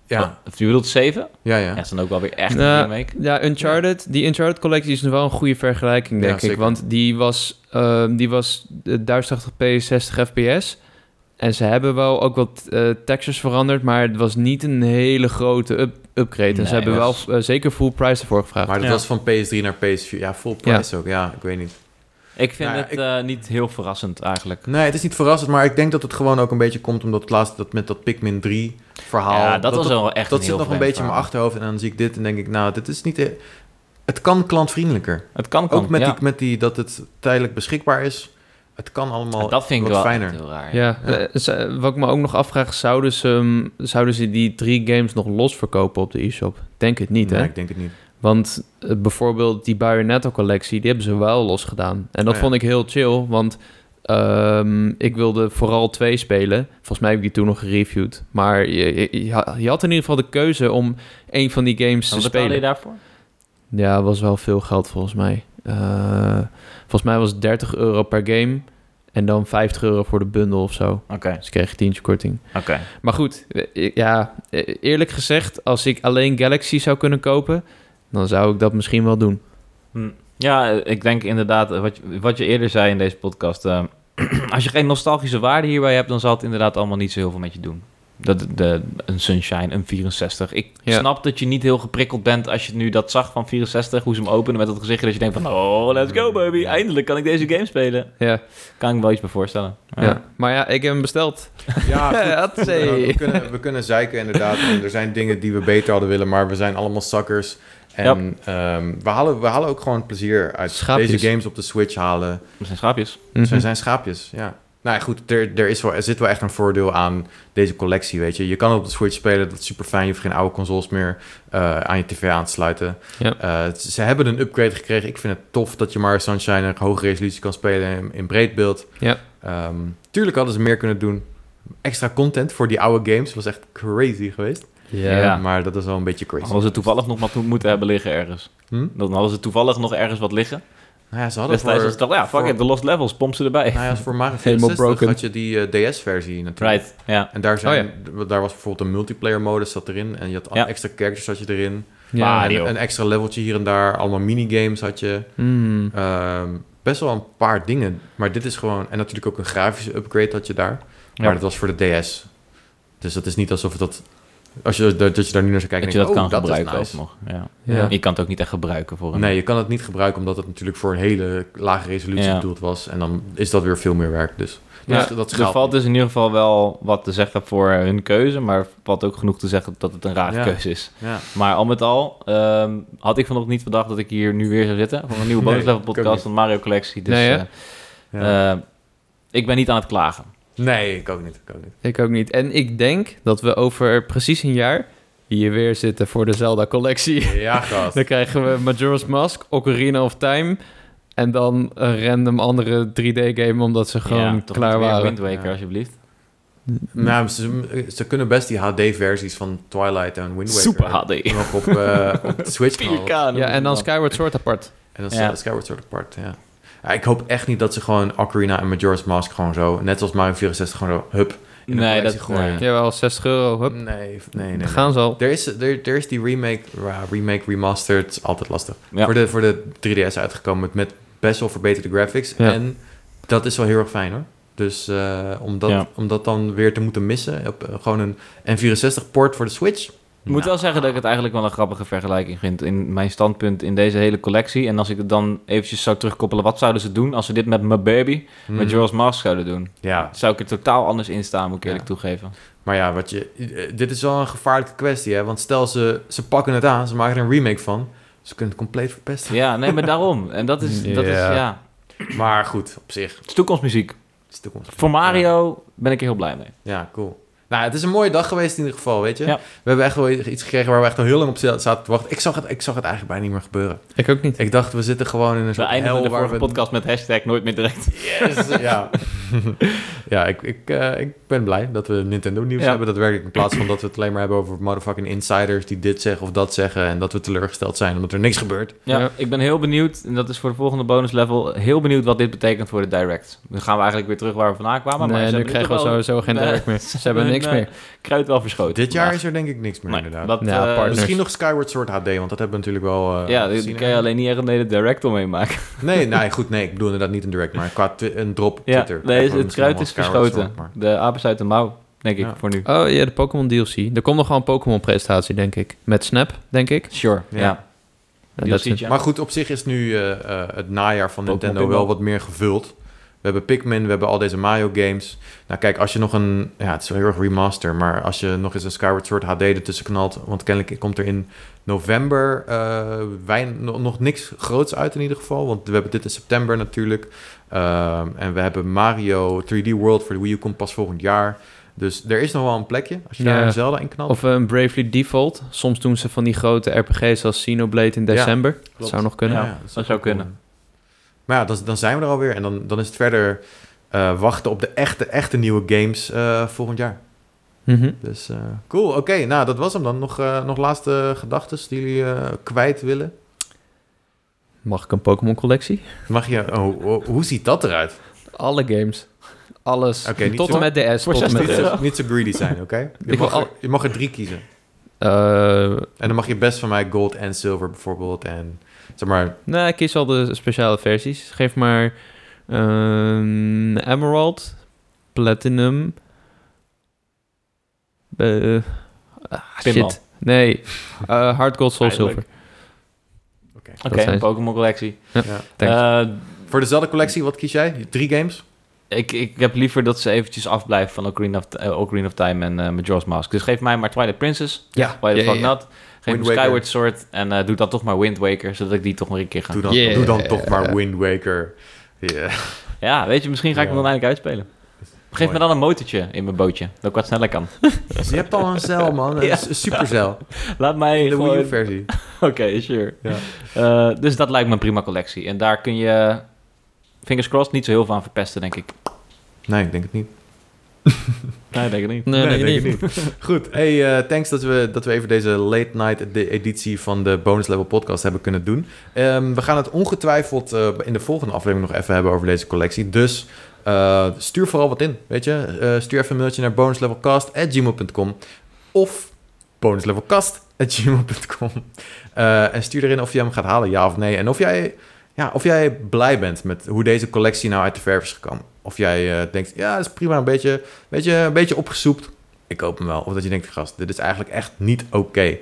S1: ja,
S2: Wat, je bedoelt 7?
S1: ja, ja.
S2: Ja, dat is dan ook wel weer echt
S3: Nou,
S2: een remake.
S3: Ja, Uncharted. Die Uncharted collectie is nog wel een goede vergelijking,
S1: Ja,
S3: denk ik.
S1: zeker.
S3: Want die was, ehm, die was eh, 1080p 60 fps. En ze hebben wel ook wat eh, textures veranderd, maar het was niet een hele grote up upgrade. en
S2: Nee,
S3: ze hebben
S2: dat
S3: wel
S2: is-
S3: eh, zeker full price ervoor gevraagd.
S1: Maar dat
S2: Ja.
S1: was van PS3 naar PS4. Ja, full price ook. Ja, ik weet niet.
S2: Ik vind
S1: Nou ja,
S2: het
S1: ik-
S2: eh, niet heel verrassend eigenlijk.
S1: Nee, het is niet verrassend, maar ik denk dat het gewoon ook een beetje komt omdat het laatste dat met dat Pikmin 3 verhaal.
S2: ja, dat, was wel echt
S1: dat
S2: een
S1: zit
S2: heel
S1: nog een
S2: vreemd
S1: beetje in mijn
S2: verhaal.
S1: achterhoofd en dan zie ik dit en denk ik, nou, dit is niet. e- Het kan klantvriendelijker.
S2: Het kan, kan
S1: Ook met,
S2: ja.
S1: die, met die dat het tijdelijk beschikbaar is. Het kan allemaal
S2: En dat vind ik
S1: wat
S2: wel
S1: fijner.
S2: echt heel raar.
S3: Ja,
S1: Ja.
S3: eh, ze- wat ik me ook nog afvraag, zouden ze, hem- zouden ze die drie games nog los verkopen op de e-shop? Denk het niet,
S1: nee,
S3: hè?
S1: ik denk het niet.
S3: Want eh, bijvoorbeeld die Bayonetta-collectie, die hebben ze wel losgedaan. En dat
S1: Oh ja.
S3: vond ik heel chill, want ehm, ik wilde vooral twee spelen. Volgens mij heb ik die toen nog gereviewd. Maar je, je, je had in ieder geval de keuze om een van die games
S2: Wat
S3: te
S2: betaalde je
S3: spelen.
S2: daarvoor?
S3: Ja, was wel veel geld volgens mij. Eh, volgens mij was het 30 euro per game en dan 50 euro voor de bundel of zo.
S2: Oké,
S3: Dus ik kreeg een tientje korting.
S2: oké.
S3: Maar goed, eh, ja, eh, eerlijk gezegd, als ik alleen Galaxy zou kunnen kopen, dan zou ik dat misschien wel doen.
S2: Hm. Ja, eh, ik denk inderdaad, eh, wat je, wat je eerder zei in deze podcast, eh, als je geen nostalgische waarde hierbij hebt, dan zal het inderdaad allemaal niet zo heel veel met je doen. Dat, de, een Sunshine, een 64. Ik
S3: Ja.
S2: snap dat je niet heel geprikkeld bent als je nu dat zag van 64, hoe ze hem openen met dat gezichtje, dat je denkt van, oh, let's go baby, eindelijk kan ik deze game spelen.
S3: Ja,
S2: Kan ik me wel iets bij voorstellen.
S3: ja. maar ja, ik heb hem besteld.
S2: Ah,
S1: Ja,
S3: Ja,
S1: goed. we, kunnen, we kunnen zeiken inderdaad. En er zijn dingen die we beter hadden willen, maar we zijn allemaal suckers. En ehm, we, halen, we halen ook gewoon plezier uit
S3: Schaapjes.
S1: deze games op de Switch halen.
S2: Dat zijn schaapjes.
S1: Ze zijn schaapjes, ja. Nou ja, goed, er, er, is wel, er zit wel echt een voordeel aan deze collectie, weet je. Je kan op de Switch spelen, dat is super fijn. Je hoeft geen oude consoles meer eh, aan je tv aan te sluiten.
S3: Ja.
S1: Eh, ze ze hebben een upgrade gekregen. Ik vind het tof dat je maar Sunshine een hoge resolutie kan spelen in, in breed beeld.
S3: Ja.
S1: Ehm, tuurlijk hadden ze meer kunnen doen. Extra content voor die oude games was echt crazy geweest.
S3: Mhm.
S1: Eh,
S3: Ja.
S2: Ja.
S1: Maar dat is wel een beetje crazy.
S2: Hadden ze toevallig nog wat mo- moeten hebben liggen ergens.
S1: Hm?
S2: Dan hadden ze toevallig nog ergens wat liggen.
S1: Nou ja, ze hadden
S2: Destijds
S1: voor,
S2: was het al, ja, fuck
S1: voor-
S2: it, de lost levels, pomp ze erbij.
S1: nou ja, voor Mario
S3: Helemaal
S1: 64
S3: broken.
S1: had je die eh, DS-versie natuurlijk.
S2: Right, Oh ja.
S1: En daar, zijn, daar was bijvoorbeeld een multiplayer modus zat erin. En je had
S2: Ja. Ah,
S1: extra characters had je erin.
S3: Ja.
S2: Mario.
S1: En een extra leveltje hier en daar. Allemaal minigames had je.
S3: Mm.
S1: Ehm, best wel een paar dingen. Maar dit is gewoon... En natuurlijk ook een grafische upgrade had je daar. Maar
S2: Ja.
S1: dat was voor de DS. Dus dat is niet alsof het dat... Als je, dat, dat je daar nu naar zou kijken...
S2: dat je dat
S1: denk
S2: kan
S1: je, oh,
S2: gebruiken
S1: is nice.
S2: ook nog. Ja.
S3: Ja.
S2: Je kan het ook niet echt gebruiken voor een...
S1: Nee, je kan het niet gebruiken omdat het natuurlijk voor een hele lage resolutie
S2: Ja.
S1: bedoeld was. En dan is dat weer veel meer werk. Dus Dus
S2: Ja,
S1: dat
S2: er
S1: schaalt
S2: valt
S1: niet.
S2: dus in ieder geval wel wat te zeggen voor hun keuze, maar er valt ook genoeg te zeggen dat het een rare
S1: Ja.
S2: keuze is.
S1: Ja.
S2: Maar al met al ehm, had ik vanochtend niet verdacht dat ik hier nu weer zou zitten voor een nieuwe
S1: Nee,
S2: bonus level
S1: ik ook
S2: podcast
S1: niet.
S2: van Mario Collectie. Dus
S3: Nee, hè?
S2: eh,
S1: Ja.
S2: eh, ik ben niet aan het klagen.
S1: nee, ik ook niet. Ik ook niet.
S3: Ik ook niet. En ik denk dat we over precies een jaar hier weer zitten voor de Zelda-collectie.
S1: Ja, gast.
S3: Dan krijgen we Majora's Mask, Ocarina of Time... en dan een random andere 3D-game omdat ze gewoon
S2: Ja, toch
S3: klaar
S2: niet weer
S3: waren.
S2: Wind Waker,
S1: Ja.
S2: alsjeblieft.
S3: Mm.
S1: nou, ze, ze kunnen best die HD-versies van Twilight en Wind Waker
S2: Super HD.
S1: nog op, eh, op de Switch halen.
S2: 4K.
S3: Oh. Ja, en dan Skyward Sword apart.
S1: En dan
S2: Ja.
S1: staat Skyward Sword apart, ja. Ja, Ik hoop echt niet dat ze gewoon Ocarina en Majora's Mask gewoon zo, net als Mario 64, gewoon zo, hup. in de
S2: Nee, dat
S1: collectie gooien.
S2: nee.
S3: Jawel, 60 euro. Hup,
S1: Nee, nee, nee.
S3: daar
S1: nee.
S3: gaan ze al.
S1: Er is, er, er is die remake, ja, remake remastered, altijd lastig.
S2: Ja.
S1: Voor, de, voor de 3DS uitgekomen met, met best wel verbeterde graphics.
S3: Ja.
S1: En dat is wel heel erg fijn hoor. Dus eh, om, dat,
S2: Ja.
S1: om dat dan weer te moeten missen, op, eh, gewoon een N64-port voor de Switch.
S2: Ik moet wel zeggen dat ik het eigenlijk wel een grappige vergelijking vind in mijn standpunt in deze hele collectie. En als ik het dan eventjes zou terugkoppelen, wat zouden ze doen als ze dit met mijn baby,
S1: Hmm.
S2: met Joris Mask zouden doen?
S1: Ja,
S2: Zou ik er totaal anders in staan, moet ik eerlijk
S1: Ja.
S2: toegeven.
S1: maar ja, wat je, eh, dit is wel een gevaarlijke kwestie hè. Want stel ze, ze pakken het aan, ze maken er een remake van. Ze kunnen het compleet verpesten.
S2: Ja, nee, maar daarom. En dat is, dat is
S1: Ja.
S2: ja,
S1: Maar goed, op zich,
S2: het is toekomstmuziek.
S1: het is toekomst.
S2: Voor Mario ben ik er heel blij mee.
S1: Ja, cool. Nou, het is een mooie dag geweest in ieder geval, weet je.
S2: Ja.
S1: We hebben echt wel iets gekregen waar we echt al heel lang op zaten te wachten. Ik zag het, ik zag het eigenlijk bijna niet meer gebeuren.
S3: Ik ook niet.
S1: Ik dacht, we zitten gewoon in een
S2: We
S1: soort
S2: eindigen
S1: hel
S2: de
S1: waar
S2: vorige
S1: we...
S2: podcast met hashtag nooit meer direct.
S1: Yes, ja. ja, ik, ik, eh, ik ben blij dat we Nintendo nieuws
S2: Ja.
S1: hebben daadwerkelijk. In plaats van dat we het alleen maar hebben over motherfucking insiders die dit zeggen of dat zeggen. En dat we teleurgesteld zijn omdat er niks gebeurt.
S2: Ja,
S3: Ja.
S2: ik ben heel benieuwd, en dat is voor de volgende bonus level, heel benieuwd wat dit betekent voor de direct. Dan gaan we eigenlijk weer terug waar we vandaan kwamen. maar
S3: nee,
S2: ze
S3: nu
S2: hebben
S3: krijgen we
S2: toch wel
S3: sowieso geen
S2: Nee,
S3: direct meer. Ze hebben
S2: hebben
S3: niks
S2: hun, eh,
S3: meer.
S2: kruid wel verschoten.
S1: Dit jaar
S2: vandaag.
S1: is er denk ik niks meer inderdaad.
S2: Dat,
S3: Ja,
S2: eh,
S3: partners.
S1: Misschien nog Skyward Sword HD, want dat hebben we natuurlijk wel eh,
S2: ja, die- die
S1: gezien.
S2: kan je alleen niet echt een hele direct omheen maken.
S1: Nee, nee, goed, nee, ik bedoel inderdaad niet een direct, maar qua twi- een drop op
S2: Ja,
S1: Twitter.
S2: nee,
S1: Gewoon
S2: het kruid is
S1: misschien wel wat Skyward
S2: verschoten.
S1: Sword, maar-
S2: De aap is uit de mouw, denk ik,
S1: Ja.
S2: voor nu.
S3: Oh ja, de Pokémon DLC. Er komt nog wel een Pokémon presentatie, denk ik. Met Snap, denk ik.
S2: Sure,
S1: Ja.
S2: ja.
S3: En
S2: DLC,
S3: dat is-
S2: ja.
S1: Maar goed, op zich is nu eh, eh, het najaar van
S2: Pokémon
S1: Nintendo wel
S2: Pinball.
S1: wat meer gevuld. We hebben Pikmin, we hebben al deze Mario games. Nou kijk, als je nog een... Ja, het is wel heel erg remaster, maar als je nog eens een Skyward Sword HD ertussen knalt... Want kennelijk komt er in november eh, wein, no- nog niks groots uit in ieder geval. Want we hebben dit in september natuurlijk. Ehm, en we hebben Mario 3D World voor de Wii U komt pas volgend jaar. Dus er is nog wel een plekje als je daar
S3: Ja.
S1: een Zelda in knalt.
S3: Of eh, een Bravely Default. Soms doen ze van die grote RPG's als Xenoblade in
S1: Ja,
S3: december. dat zou nog kunnen.
S2: Ja.
S1: is
S2: dat
S1: ook
S2: zou
S1: wel cool.
S2: kunnen.
S1: Maar ja, dan, dan zijn we er alweer. En dan, dan is het verder eh, wachten op de echte, echte nieuwe games eh, volgend jaar.
S3: Mhm.
S1: Dus eh, cool, oké. nou, dat was hem dan. Nog, eh, nog laatste gedachten die jullie eh, kwijt willen?
S3: Mag ik een Pokémon collectie?
S1: Mag je... Oh, oh, hoe ziet dat eruit?
S3: Alle games. Alles.
S1: Oké, niet
S3: tot
S1: zo-
S3: en met DS.
S2: Voor
S3: Tot en met
S2: 60
S1: Niet
S3: DS.
S1: zo, niet zo greedy zijn, oké? Je,
S3: Ik wil
S1: mag er-
S3: al-
S1: je mag er drie kiezen.
S3: Eh,
S1: En dan mag je best van mij gold en silver bijvoorbeeld. En zeg maar...
S3: nou, ik kies al de speciale versies. Geef maar ehm, Emerald, Platinum. Eh, ah,
S2: Pinball.
S3: shit. Nee, Eh, Hard Gold, Soul Silver.
S2: Eindelijk. Oké,
S3: Dat zijn-
S2: een Pokémon collectie.
S1: Ja.
S3: Thanks.
S2: Eh,
S1: Voor dezelfde collectie, wat kies jij? Drie games?
S2: ik, ik heb liever dat ze eventjes afblijven van Ocarina of, eh, Ocarina of Time en eh Majora's Mask. Dus geef mij maar Twilight Princess.
S1: Ja.
S2: Why the
S3: Ja,
S2: fuck
S3: ja, ja.
S2: not? Geef
S1: Wind
S2: me
S1: Waker.
S2: Skyward Sword en eh, doe dan toch maar Wind Waker, zodat ik die toch maar een keer ga.
S1: Doe dan,
S3: Yeah.
S1: doe dan toch maar Wind Waker. Ja.
S2: Ja, weet je, misschien ga ik hem
S1: Ja.
S2: dan eindelijk uitspelen. Geef
S1: Mooi.
S2: me dan een motortje in mijn bootje, dat ik wat sneller kan.
S1: Dus je hebt al een cel, man. Een
S2: Ja.
S1: s- supercel.
S2: Laat mij
S1: De Wii
S2: gewoon...
S1: U-versie.
S2: Oké, sure.
S1: Ja.
S2: Eh, dus dat lijkt me een prima collectie. En daar kun je, fingers crossed, niet zo heel veel aan verpesten, denk ik.
S1: Nee, ik denk het niet.
S2: Nee, denk ik niet.
S3: Nee, nee,
S1: denk
S3: niet.
S1: ik niet. Goed, hey, eh, thanks dat we, dat we even deze late night edi- editie van de Bonus Level podcast hebben kunnen doen. Ehm, we gaan het ongetwijfeld eh, in de volgende aflevering nog even hebben over deze collectie. Dus eh, stuur vooral wat in, weet je. Eh, stuur even een mailtje naar bonuslevelcast.gmail.com of bonuslevelcast.gmail.com Eh, en stuur erin of je hem gaat halen, ja of nee. En of jij, ja, of jij blij bent met hoe deze collectie nou uit de verf is gekomen. Of jij eh, denkt, ja, dat is prima, een beetje... Weet je, een beetje opgesoept. Ik koop hem wel. Of dat je denkt, gast, dit is eigenlijk echt niet oké.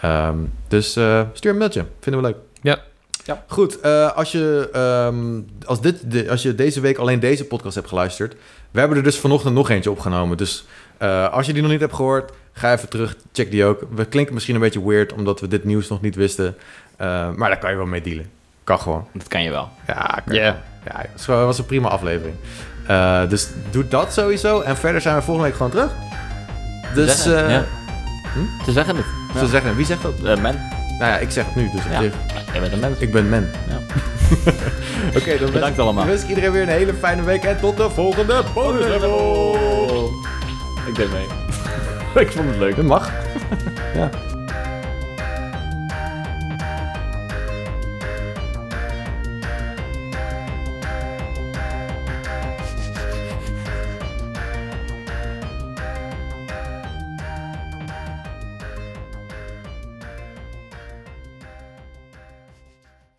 S1: Ehm, dus eh, stuur een mailtje. Vinden we leuk.
S3: Ja.
S2: Ja.
S1: Goed, eh, als, je, ehm, als, dit, de- als je deze week alleen deze podcast hebt geluisterd... We hebben er dus vanochtend nog eentje opgenomen. Dus eh, als je die nog niet hebt gehoord, ga even terug, check die ook. We klinken misschien een beetje weird, omdat we dit nieuws nog niet wisten. Eh, maar daar kan je wel mee dealen. Kan gewoon.
S2: Dat kan je wel.
S1: Ja, kan
S3: Ja.
S1: ja, het was gewoon- was een prima aflevering. Eh, dus doe dat sowieso. En verder zijn we volgende week gewoon terug. Dus
S2: Ze zeggen,
S1: eh,
S2: ja.
S1: hm?
S2: Ze zeggen het.
S1: ze
S2: Ja.
S1: zeggen, wie zegt dat?
S2: Eh, men.
S1: Nou ja, ik zeg het nu. Dus op
S2: Ja.
S1: zich,
S2: Jij bent een mens.
S1: ik ben men.
S2: Ja.
S1: Oké, dan wens,
S2: Bedankt allemaal.
S1: wens ik iedereen weer een hele fijne week. En tot de volgende
S2: Oh,
S1: bonus level.
S2: Ik deed mee. ik vond het leuk.
S1: Dat mag. ja.